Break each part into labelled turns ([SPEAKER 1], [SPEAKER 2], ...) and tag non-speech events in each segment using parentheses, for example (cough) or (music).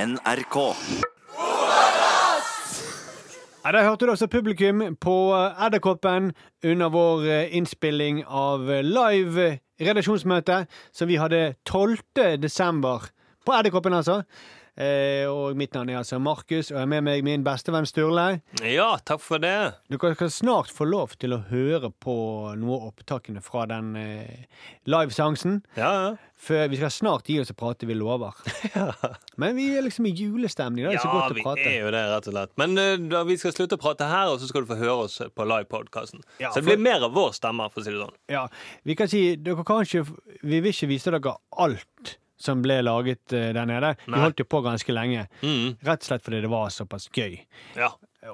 [SPEAKER 1] NRK.
[SPEAKER 2] Ja, Der hørte du altså publikum på eh, Edderkoppen under vår eh, innspilling av eh, live eh, redaksjonsmøte som vi hadde 12. desember. På Edderkoppen, altså. Eh, og mitt navn er altså Markus, og jeg har med meg min bestevenn Sturle.
[SPEAKER 3] Ja, takk for det.
[SPEAKER 2] Dere skal snart få lov til å høre på noe av opptakene fra den eh, liveseansen.
[SPEAKER 3] Ja, ja.
[SPEAKER 2] For vi skal snart gi oss å prate, vi
[SPEAKER 3] (laughs)
[SPEAKER 2] lover. Men vi er liksom i julestemning. Da. Det er så
[SPEAKER 3] ja
[SPEAKER 2] godt
[SPEAKER 3] vi
[SPEAKER 2] å prate.
[SPEAKER 3] er jo det, rett og slett. Men eh, da, vi skal slutte å prate her, og så skal du få høre oss på livepodkasten.
[SPEAKER 2] Ja,
[SPEAKER 3] så det
[SPEAKER 2] for-
[SPEAKER 3] blir mer av vår stemme, for å si det sånn.
[SPEAKER 2] Ja, vi kan si dere kan ikke, Vi vil ikke vise dere alt som ble laget eh, der nede. Vi
[SPEAKER 3] Nei.
[SPEAKER 2] holdt jo på ganske lenge.
[SPEAKER 3] Mm,
[SPEAKER 2] Rett og slett fordi det var såpass gøy.
[SPEAKER 3] ja.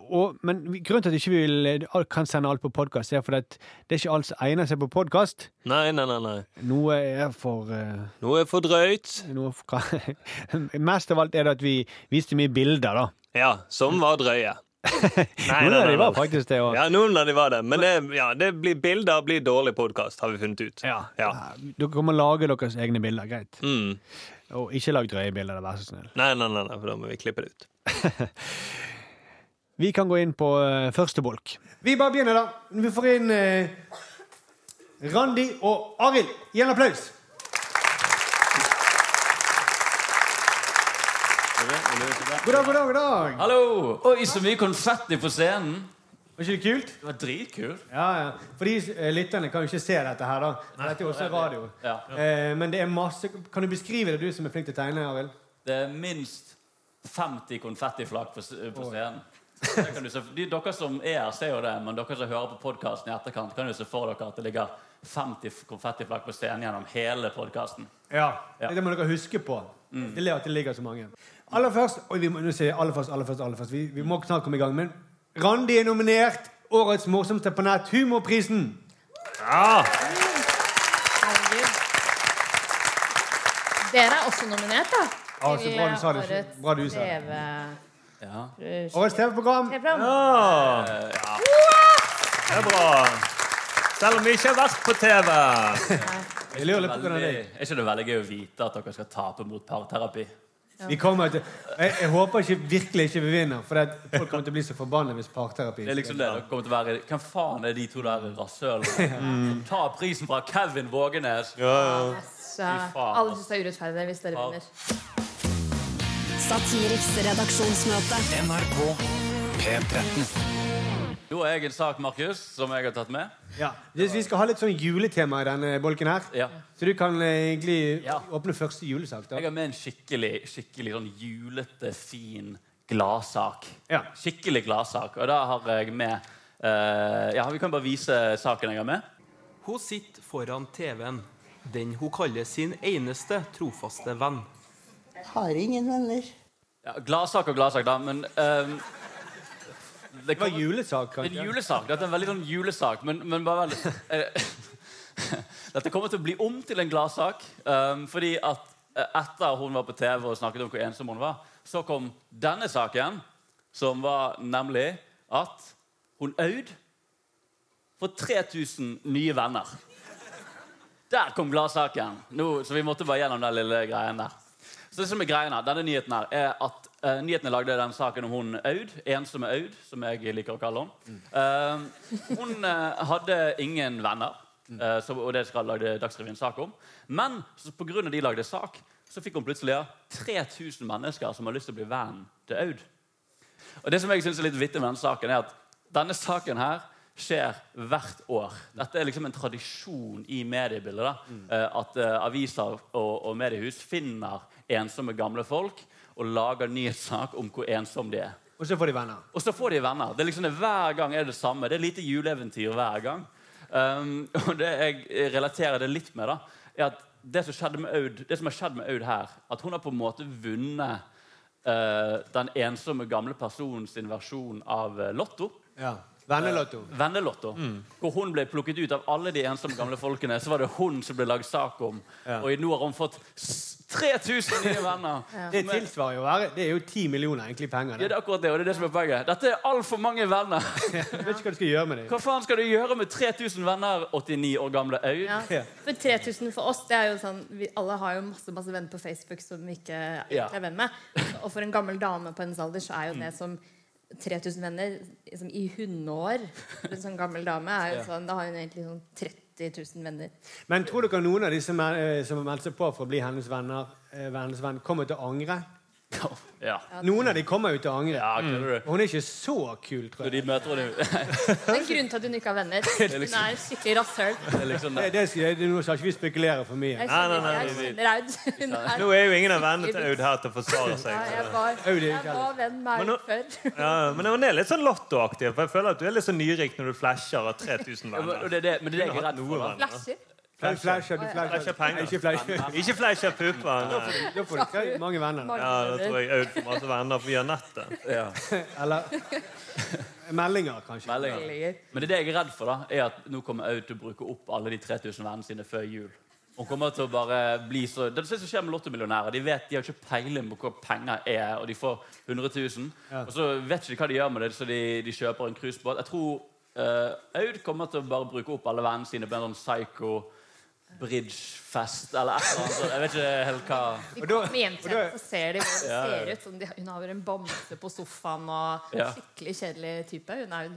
[SPEAKER 2] Og, men vi- grunnen til at vi ikke vil, eh, alt- kan sende alt på podkast, er fordi at det er ikke alt som egner seg på podkast.
[SPEAKER 3] Nei, nei, nei. nei.
[SPEAKER 2] Noe er for eh,
[SPEAKER 3] Noe er for drøyt.
[SPEAKER 2] noe for, (laughs) Mest av alt er det at vi viste mye bilder, da.
[SPEAKER 3] Ja, som var drøye. Nei,
[SPEAKER 2] Noen av de var faktisk det. Og,
[SPEAKER 3] Ja, noen av de var det. Men det, ja, det blir bilder blir dårlig podkast, har vi funnet ut.
[SPEAKER 2] ja.
[SPEAKER 3] Ja.
[SPEAKER 2] Dere kommer lage deres egne bilder, greit.
[SPEAKER 3] Mm.
[SPEAKER 2] Og ikke lag drøye bilder, da, vær så snill.
[SPEAKER 3] Nei, nei, nei, nei, for da må vi klippe det ut.
[SPEAKER 2] Vi kan gå inn på eh, første bolk. Vi bare begynner, da. Vi får inn eh, Randi og Arild. Gi en applaus. God dag, god dag. god dag
[SPEAKER 4] Hallo! Oi, så mye konfetti på scenen.
[SPEAKER 2] Var ikke det kult?
[SPEAKER 4] Det var dritkult.
[SPEAKER 2] Ja, ja. For de eh, lytterne kan jo ikke se dette her, da. Dette er jo også radio.
[SPEAKER 4] Ja.
[SPEAKER 2] Eh, men det er masse Kan du beskrive det, du som er flink til å tegne, Arild?
[SPEAKER 4] Det er minst 50 konfettiflak på, s- eh, på scenen. Det kan du se, de, dere som er her, ser jo det, men dere som hører på podkasten i etterkant, kan jo se for dere at det ligger 50 f- konfettiflak på scenen gjennom hele podkasten.
[SPEAKER 2] Ja.
[SPEAKER 4] Ja. Mm.
[SPEAKER 2] Det må dere huske på. Det er at det ligger så mange. Aller først Oi, vi må nå sier jeg aller først, aller først, aller først. Vi, vi må snart komme i gang. Men Randi er nominert Årets morsomste på nett, Humorprisen.
[SPEAKER 3] Ja,
[SPEAKER 5] Dere er også nominert, da.
[SPEAKER 2] Ja, så bra du sa det.
[SPEAKER 5] Til
[SPEAKER 2] Bra du sa det.
[SPEAKER 5] TV...
[SPEAKER 4] Ja.
[SPEAKER 2] Årets TV-program.
[SPEAKER 5] TV-program.
[SPEAKER 3] det er bra. Selv om vi ikke har vært på TV.
[SPEAKER 2] Jeg lurer litt på hvordan
[SPEAKER 4] Veldig,
[SPEAKER 2] det er.
[SPEAKER 4] er ikke det veldig gøy å vite at dere skal tape mot parterapi?
[SPEAKER 2] Vi kommer til Jeg, jeg håper ikke, virkelig ikke vi vinner, for det at folk kommer til å bli så forbanna hvis parterapi
[SPEAKER 4] Det er liksom det dere kommer til å være Hvem faen er de to der rasshølene?
[SPEAKER 2] (laughs)
[SPEAKER 4] Ta prisen fra Kevin Vågenes!
[SPEAKER 5] Så
[SPEAKER 4] Fy faen,
[SPEAKER 5] alle syns det er urettferdig hvis dere vinner.
[SPEAKER 6] Satiriks redaksjonsmøte.
[SPEAKER 4] Da har jeg en sak, Markus, som jeg har tatt med.
[SPEAKER 2] Ja. Hvis vi skal ha litt sånn juletema i denne bolken her,
[SPEAKER 4] Ja.
[SPEAKER 2] så du kan eh, egentlig
[SPEAKER 4] Ja.
[SPEAKER 2] åpne første julesak. da
[SPEAKER 4] Jeg har med en skikkelig, skikkelig sånn julete, fin gladsak.
[SPEAKER 2] Ja.
[SPEAKER 4] Skikkelig gladsak. Og da har jeg med eh, Ja, vi kan bare vise saken jeg har med.
[SPEAKER 7] Hun sitter foran TV-en, den hun kaller sin eneste trofaste venn.
[SPEAKER 8] Har ingen venner.
[SPEAKER 4] Ja, gladsak og gladsak, da, men eh, det
[SPEAKER 2] Det var
[SPEAKER 4] kommer-
[SPEAKER 2] julesak,
[SPEAKER 4] Det er
[SPEAKER 2] kanskje?
[SPEAKER 4] En julesak. Dette er en veldig sånn julesak, men, men bare veldig eh, (laughs) Dette kommer til å bli om til en gladsak. Um, fordi at eh, etter hun var på TV og snakket om hvor ensom hun var, så kom denne saken, som var nemlig at hun Aud får 3000 nye venner. Der kom gladsaken. Nå- Så vi måtte bare gjennom den lille greien der. Så det som er greien her, Denne nyheten her er at eh, nyheten er lagd i den saken om hun Aud. Ensomme Aud, som jeg liker å kalle henne. Eh, hun eh, hadde ingen venner, eh, så, og det skal lagde Dagsrevyen sak om. Men så på grunn av de lagde sak, så fikk hun plutselig ja, 3000 mennesker som har lyst til å bli vennen til Aud. Og det som jeg synes er litt vittig med denne saken, er at denne saken her skjer hvert år. Dette er liksom en tradisjon i mediebildet. da, eh, At eh, aviser og, og mediehus finner ensomme gamle folk og lager nyhetssak om hvor ensomme de er.
[SPEAKER 2] Og så får de venner.
[SPEAKER 4] Og så får de venner. Det er liksom det, hver gang er det samme. Det er lite juleeventyr hver gang. Um, (laughs) og det jeg relaterer det litt med, da, er at det som, skjedde med Aud, det som har skjedd med Aud her, at hun har på en måte vunnet eh, den ensomme gamle personen sin versjon av eh, Lotto.
[SPEAKER 2] Ja. Vennelotto.
[SPEAKER 4] Vennelotto. Hvor hun ble plukket ut av alle de ensomme gamle folkene. Så var det hun som ble lagd sak om. Og i nå har hun fått s- 3000 nye venner.
[SPEAKER 2] Det tilsvarer jo å være Det er jo ti millioner egentlig penger.
[SPEAKER 4] Ja,
[SPEAKER 2] Det.
[SPEAKER 4] det er akkurat det, og det er det som er poenget. Dette er altfor mange venner.
[SPEAKER 2] Jeg vet ikke hva du skal gjøre med det.
[SPEAKER 4] Hva faen skal du gjøre med 3000 venner, 89 år gamle Aud?
[SPEAKER 5] Ja.
[SPEAKER 2] Ja.
[SPEAKER 5] For 3000 for oss, det er jo sånn vi Alle har jo masse masse venner på Facebook som vi ikke
[SPEAKER 4] Ja.
[SPEAKER 5] er venn med. Og for en gammel dame på hennes alder så er jo det som 3000 venner liksom, i hundeår for en sånn gammel dame er jo sånn, Da har hun egentlig sånn 30 000 venner.
[SPEAKER 2] Men tror dere noen av de som, er, eh, som har meldt seg på for å bli hennes venner, eh, hennes venn, kommer til å angre?
[SPEAKER 4] Ja.
[SPEAKER 2] Noen av de kommer jo til å angre.
[SPEAKER 4] Ja, kødder du?
[SPEAKER 2] Hun er ikke så kul, tror
[SPEAKER 4] Når
[SPEAKER 2] jeg.
[SPEAKER 4] de møter (laughs) henne
[SPEAKER 5] Det er grunnen til at hun ikke har venner. Hun er skikkelig rasshøl.
[SPEAKER 4] det er liksom
[SPEAKER 2] Det, det, skal- det er noe som ikke vi spekulerer for mye.
[SPEAKER 5] Jeg kjenner,
[SPEAKER 1] nei, nei,
[SPEAKER 5] jeg
[SPEAKER 1] vi-
[SPEAKER 5] kjenner Aud. Hun er
[SPEAKER 1] Nå er jo ingen av vennene til Aud her til å forsvare
[SPEAKER 5] ja,
[SPEAKER 1] seg.
[SPEAKER 5] jeg, var,
[SPEAKER 2] Aud er ikke
[SPEAKER 5] jeg var venn med
[SPEAKER 1] Men nå-
[SPEAKER 5] Aud før.
[SPEAKER 1] Ja, men hun er litt sånn lottoaktig. For jeg føler at du er litt så nyrik når du flasher av 3000
[SPEAKER 4] Ja, men, og
[SPEAKER 1] venner.
[SPEAKER 4] det, er det, men det er det jeg er redd
[SPEAKER 1] Noe
[SPEAKER 4] for. da.
[SPEAKER 1] venner.
[SPEAKER 5] Flasher.
[SPEAKER 2] Flasher, flasher, du
[SPEAKER 1] Flasher
[SPEAKER 2] flasher.
[SPEAKER 1] penger.
[SPEAKER 2] Nei, Ikke flasher.
[SPEAKER 1] Ikke flasher pupper. nei.
[SPEAKER 2] Da får du tre- mange venner.
[SPEAKER 5] Mange
[SPEAKER 1] Ja, da
[SPEAKER 5] venner.
[SPEAKER 1] tror jeg Aud får masse venner via nettet.
[SPEAKER 5] (laughs)
[SPEAKER 2] Eller meldinger, kanskje.
[SPEAKER 4] Meldinger. Men det er det jeg er redd for, da, er at nå kommer Aud til å bruke opp alle de 3000 vennene sine før jul. Hun kommer til å bare bli så Det er det som skjer med lottomillionærer. De vet, de har ikke peiling på hva penger er, og de får 100 000. Og så vet ikke de hva de gjør med det, så de, de kjøper en cruisebåt. Jeg tror eh, Aud kommer til å bare bruke opp alle vennene sine på en sånn psycho bridgefest eller et eller annet. sånt. Jeg vet ikke helt hva
[SPEAKER 5] De
[SPEAKER 2] Og da-
[SPEAKER 5] kommer hjem
[SPEAKER 2] og
[SPEAKER 5] til
[SPEAKER 2] da-
[SPEAKER 5] henne, så ser de hvordan det ser ut. Som de, hun har en bamse på sofaen og
[SPEAKER 4] Ja.
[SPEAKER 5] skikkelig kjedelig type. Hun er hun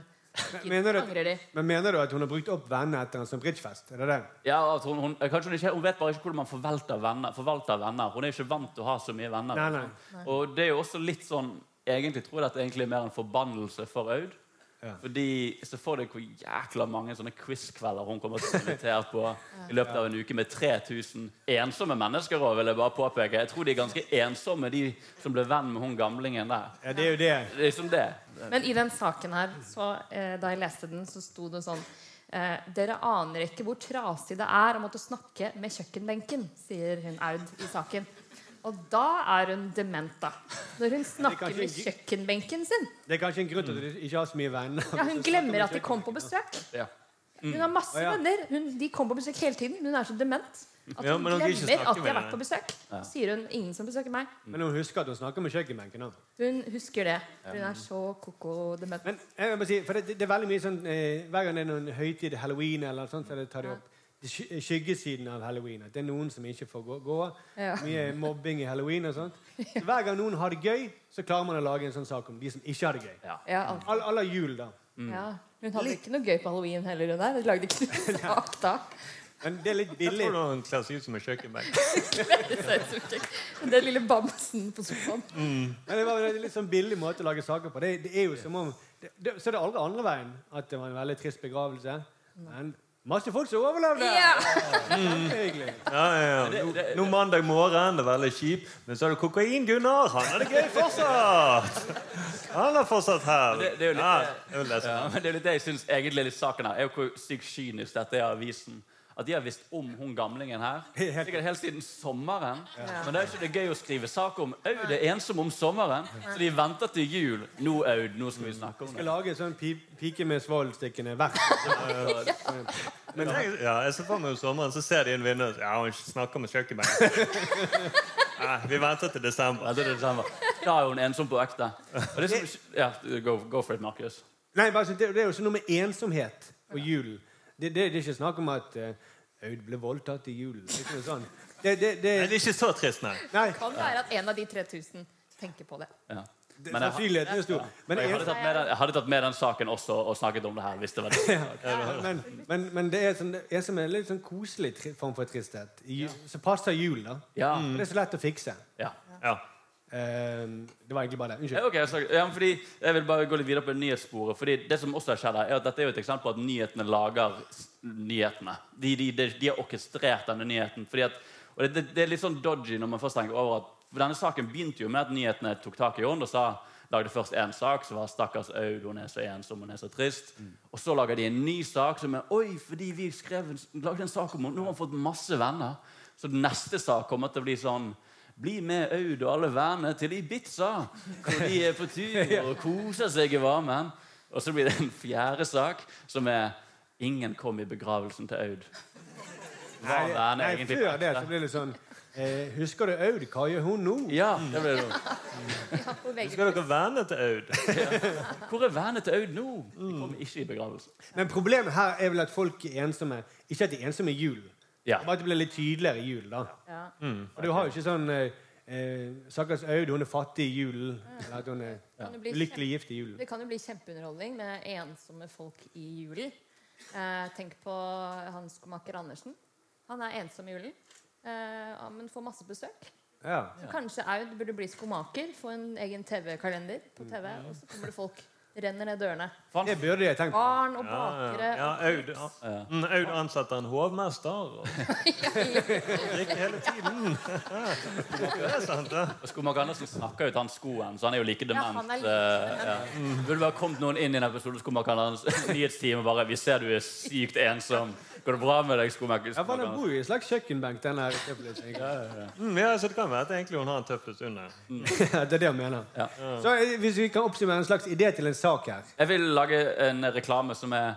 [SPEAKER 2] Mener du,
[SPEAKER 5] angrer de.
[SPEAKER 2] at- men mener du at hun har brukt opp vennene etter en sånn bridgefest? Er det det?
[SPEAKER 4] Ja, at hun, hun, kanskje hun, ikke, hun vet bare ikke hvordan man forvalter venner, forvalter venner. Hun er ikke vant til å ha så mye venner.
[SPEAKER 2] Nei, nei.
[SPEAKER 4] Og det er jo også litt sånn Egentlig tror jeg dette egentlig er mer en forbannelse for Aud. Fordi Så får deg hvor jækla mange sånne quiz-kvelder hun kommer til å invitere på i løpet av en uke, med 3000 ensomme mennesker òg, vil jeg bare påpeke. Jeg tror de er ganske ensomme, de som ble venn med hun gamlingen der.
[SPEAKER 2] Ja, det er jo det.
[SPEAKER 4] Det er liksom det.
[SPEAKER 5] Men i den saken her, så, eh, da jeg leste den, så sto det sånn eh, Dere aner ikke hvor trasig det er å måtte snakke med kjøkkenbenken, sier hun Aud i saken. Og da er hun dement, da. Når hun snakker
[SPEAKER 2] kanskje
[SPEAKER 5] med
[SPEAKER 2] en
[SPEAKER 5] kjøkkenbenken sin.
[SPEAKER 2] Det er kanskje en grunn til at du ikke har så mye venner.
[SPEAKER 5] Ja, hun glemmer at de kom på besøk.
[SPEAKER 4] Ja.
[SPEAKER 5] Hun har masse
[SPEAKER 2] Å, ja.
[SPEAKER 5] venner. Hun, de kom på besøk hele tiden. men Hun er så dement at hun
[SPEAKER 1] Ja, men hun vil ikke
[SPEAKER 5] glemmer
[SPEAKER 1] snakke
[SPEAKER 5] at de har
[SPEAKER 1] med
[SPEAKER 5] vært på besøk. Sier hun 'ingen som besøker meg'.
[SPEAKER 2] Men hun husker at hun snakker med kjøkkenbenken. da.
[SPEAKER 5] Hun husker det. Hun er så ko-ko dement.
[SPEAKER 2] Men jeg vil bare si, for det, det er veldig mye sånn eh, Hver gang det er noen høytid, halloween eller noe sånt, så det tar de opp Det sky- eh, skyggesiden av halloween. At det er noen som ikke får gå. gå.
[SPEAKER 5] Ja.
[SPEAKER 2] Mye mobbing i halloween og sånt. Så hver gang noen har det gøy, så klarer man å lage en sånn sak om de som ikke har det gøy.
[SPEAKER 5] Ja, alt
[SPEAKER 2] All- Alle har jul, da.
[SPEAKER 5] Ja, Hun hadde ikke noe gøy på halloween heller. Hun der. Hun lagde ikke noe (laughs) sak da.
[SPEAKER 2] Men det er litt
[SPEAKER 1] Jeg
[SPEAKER 2] billig.
[SPEAKER 1] tror hun kler seg ut som en kjøkkenbenk.
[SPEAKER 5] Det ser ut som ikke- Den lille bamsen på sofaen.
[SPEAKER 2] Men det var en litt sånn billig måte å lage saker på. Det, det er jo som om det, det, Så er det aldri andre veien at det var en veldig trist begravelse. Men masse folk som overlevde!
[SPEAKER 5] Ja.
[SPEAKER 2] Det er hyggelig.
[SPEAKER 1] Ja, ja, ja. Nå, nå mandag morgen, det er veldig kjipt, men så er det kokain-Gunnar. Han har det gøy fortsatt! Han er fortsatt her.
[SPEAKER 4] Det- det er jo litt-
[SPEAKER 1] Ja, jeg vil lese.
[SPEAKER 4] Ja, men det er litt det jeg synes egentlig litt saken her, er jo hvor sykt kynisk dette er avisen. At de har visst om hun gamlingen her
[SPEAKER 2] Helt-
[SPEAKER 4] sikkert helt siden sommeren. Men det er jo ikke det gøy å skrive sak om. Aud er ensom om sommeren, så de venter til jul. Nå, Aud, nå skal vi snakke om
[SPEAKER 2] Jeg
[SPEAKER 4] det.
[SPEAKER 2] lager sånn pi, pike med svovelstikkene hvert.
[SPEAKER 1] Men tenk- ja, jeg ser for meg om sommeren, så ser de inn vinduet Ja, hun snakker med kjøkkenbenken. Nei, vi venter til desember.
[SPEAKER 4] Venter til desember. Da er hun ensom på ekte. Og det som, ja, go, go for it, Markus.
[SPEAKER 2] Nei, bare, så det, det er jo også noe med ensomhet og julen. Det, det, det er ikke snakk om at eh, Aud ble voldtatt i julen. Det er ikke noe sånn. Det, det, det,
[SPEAKER 1] Nei, det er ikke så trist, nei.
[SPEAKER 2] nei,
[SPEAKER 5] Kan være at en av de 3000 tenker på det.
[SPEAKER 4] Ja.
[SPEAKER 2] det,
[SPEAKER 4] Men jeg, har-
[SPEAKER 2] sannsynligheten er stor. Men,
[SPEAKER 4] jeg, hadde
[SPEAKER 2] ens-
[SPEAKER 4] tatt med den, jeg hadde tatt med den saken også og snakket om det her. hvis det var
[SPEAKER 2] (laughs)
[SPEAKER 4] det.
[SPEAKER 2] men, men, men det er sånn, det er som en litt sånn koselig tri, form for tristhet. I, ju- Som passer jul, da.
[SPEAKER 4] Ja,
[SPEAKER 2] Det er så lett å fikse.
[SPEAKER 4] ja.
[SPEAKER 1] Ja.
[SPEAKER 2] Eh, det var egentlig bare det. Unnskyld.
[SPEAKER 4] Ja, ok, jeg snakker- ja, men fordi jeg vil bare gå litt videre på det nyhetssporet. Fordi det som også har skjedd her, er at Dette er jo et eksempel på at nyhetene lager s- nyhetene. De, de, de, de har orkestrert denne nyheten. Fordi at, og det, det, det er litt sånn dodgy når man først tenker over at for Denne saken begynte jo med at nyhetene tok tak i henne og sa lagde først én sak, så var stakkars Aud, hun er så ensom, hun er så trist. Og så lager de en ny sak som er Oi, fordi vi skrev en, s- lagde en sak om henne, nå har hun fått masse venner. Så neste sak kommer til å bli sånn bli med Aud og alle vennene til Ibiza, hvor de er på
[SPEAKER 2] (laughs)
[SPEAKER 4] tur og koser seg i varmen. Og så blir det en fjerde sak, som er Ingen kom i begravelsen til Aud. Hva
[SPEAKER 2] Nei,
[SPEAKER 4] var
[SPEAKER 2] nei,
[SPEAKER 4] egentlig
[SPEAKER 2] før det så blir det sånn eh, Husker du Aud? Hva gjør hun nå?
[SPEAKER 4] Ja, det ble det.
[SPEAKER 5] På VG+.
[SPEAKER 1] Skal dere venne til
[SPEAKER 5] (laughs)
[SPEAKER 1] Aud?
[SPEAKER 4] Hvor er vennene til Aud nå? De kom
[SPEAKER 2] Mm.
[SPEAKER 4] ikke i begravelsen.
[SPEAKER 2] Men problemet her er vel at folk er ensomme. Ikke at de er ensomme i julen.
[SPEAKER 4] Ja. Mm.
[SPEAKER 2] Bare at det blir litt tydeligere i julen, da.
[SPEAKER 5] Ja.
[SPEAKER 2] Og du har jo ikke sånn eh, eh, Stakkars Aud, hun er fattig i julen. Eller at hun er
[SPEAKER 5] Kan det bli
[SPEAKER 2] lykkelig gift i julen.
[SPEAKER 5] Det kan jo bli kjempeunderholdning med ensomme folk i julen. Eh, tenk på han skomaker Andersen. Han er ensom i julen, eh, ja, men får masse besøk.
[SPEAKER 2] Ja.
[SPEAKER 5] Så kanskje Aud burde bli skomaker, få en egen TV-kalender på TV, og så kommer det folk. Renner ned dørene.
[SPEAKER 2] Det burde jeg tenkt på.
[SPEAKER 5] Barn og bakere.
[SPEAKER 1] Ja, Aud, mm, Aud ansetter en hovmester. og- Drikker hele
[SPEAKER 5] (laughs)
[SPEAKER 1] tiden. Det er sant, det.
[SPEAKER 4] Skomaker Andersen snakker jo ut han skoen, så han er jo like
[SPEAKER 5] Ja,
[SPEAKER 4] dement.
[SPEAKER 5] han er litt
[SPEAKER 4] eh, ja. Burde bare kommet noen inn i den episoden Skomaker Andersen (laughs) nyhetsteam og bare Vi ser du er sykt ensom. Går det bra med deg, Skomaker?
[SPEAKER 2] Ja, for
[SPEAKER 4] Skomaker
[SPEAKER 2] Den
[SPEAKER 4] Andersen?»
[SPEAKER 2] bor jo i en slags kjøkkenbenk, den her. tøffelen, tenker jeg.
[SPEAKER 1] Mm, ja, så det kan være at egentlig hun har en tøffest under.
[SPEAKER 2] (laughs) det er det jeg mener.
[SPEAKER 4] Ja.
[SPEAKER 2] Så eh, Hvis vi kan oppsummere en slags idé til en sak her
[SPEAKER 4] Jeg vil lage en reklame som er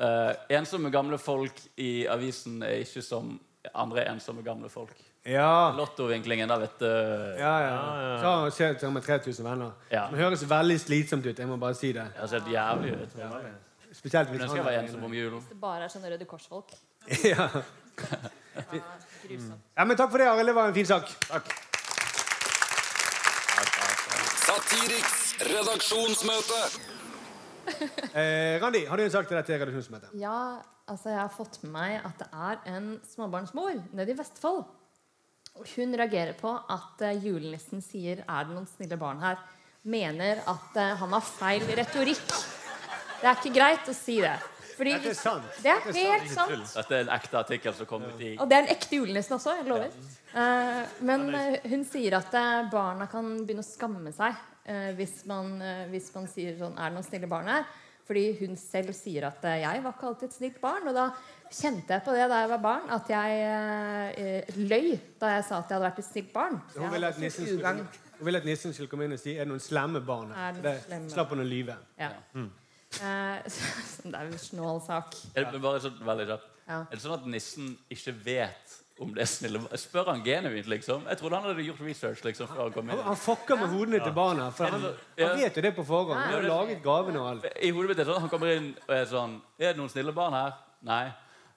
[SPEAKER 4] eh, Ensomme gamle folk i avisen er ikke som andre ensomme gamle folk.
[SPEAKER 2] Ja,
[SPEAKER 4] Lottovinklingen, da, vet du.
[SPEAKER 2] ja, ja. Så har han sett sammen med 3000 venner.
[SPEAKER 4] Ja.
[SPEAKER 2] Det høres veldig slitsomt ut. jeg må bare si det.
[SPEAKER 4] Det ser helt jævlig ut. Men
[SPEAKER 2] Spesielt hvis
[SPEAKER 4] jeg
[SPEAKER 2] han
[SPEAKER 4] skal være
[SPEAKER 2] er
[SPEAKER 4] ensom om julen.
[SPEAKER 5] Det bare er sånne Røde Kors-folk.
[SPEAKER 2] (laughs) ja.
[SPEAKER 5] Grusomt.
[SPEAKER 2] ja, men Takk for det, Arild. Det var en fin sak.
[SPEAKER 9] Satiriks redaksjonsmøte.
[SPEAKER 2] Eh, Randi, har du en sak til deg til redaksjonsmøtet?
[SPEAKER 5] Ja, altså jeg har fått med meg at det er en småbarnsmor nede i Vestfold. Og Hun reagerer på at eh, julenissen sier 'er det noen snille barn her'? Mener at eh, han har feil retorikk. Det er ikke greit å si det. Fordi,
[SPEAKER 2] Dette er sant.
[SPEAKER 5] Det er helt sant.
[SPEAKER 4] Dette er en ekte artikkel som kom ut i
[SPEAKER 5] Og det er en ekte julenissen også. jeg lover. Eh, Men eh, hun sier at eh, barna kan begynne å skamme seg eh, hvis man, eh, hvis man sier sånn Er det noen snille barn her? Fordi hun selv sier at eh, jeg var ikke alltid et snilt barn. Og da kjente jeg på det da jeg var barn, at jeg eh, eh, løy da jeg sa at jeg hadde vært et snilt barn. Så
[SPEAKER 2] Hun
[SPEAKER 5] jeg
[SPEAKER 2] ville
[SPEAKER 5] hadde
[SPEAKER 2] at nissen
[SPEAKER 5] fulgt
[SPEAKER 2] skulle,
[SPEAKER 5] ugagn.
[SPEAKER 2] hun ville at nissen skulle komme inn og si 'Er det noen slemme barn
[SPEAKER 5] Er
[SPEAKER 2] her?'
[SPEAKER 5] det
[SPEAKER 2] Det-
[SPEAKER 5] slemme?
[SPEAKER 2] Slapp hun å lyve.
[SPEAKER 5] Ja. Eh, (laughs) så det er jo en snål sak.
[SPEAKER 4] Er det bare sånn, veldig kjapt.
[SPEAKER 5] Ja.
[SPEAKER 4] Er det sånn at nissen ikke vet om det er snille barn? Spør han genuint, liksom? Jeg trodde han hadde gjort research liksom, før han kom
[SPEAKER 2] Han
[SPEAKER 4] inn.
[SPEAKER 2] han fucker med hodene til barna. For han, han vet jo det på forhånd. Han har jo laget gavene og alt. (laughs)
[SPEAKER 4] I hodet mitt er det sånn Han kommer inn og er sånn Er det noen snille barn her? Nei.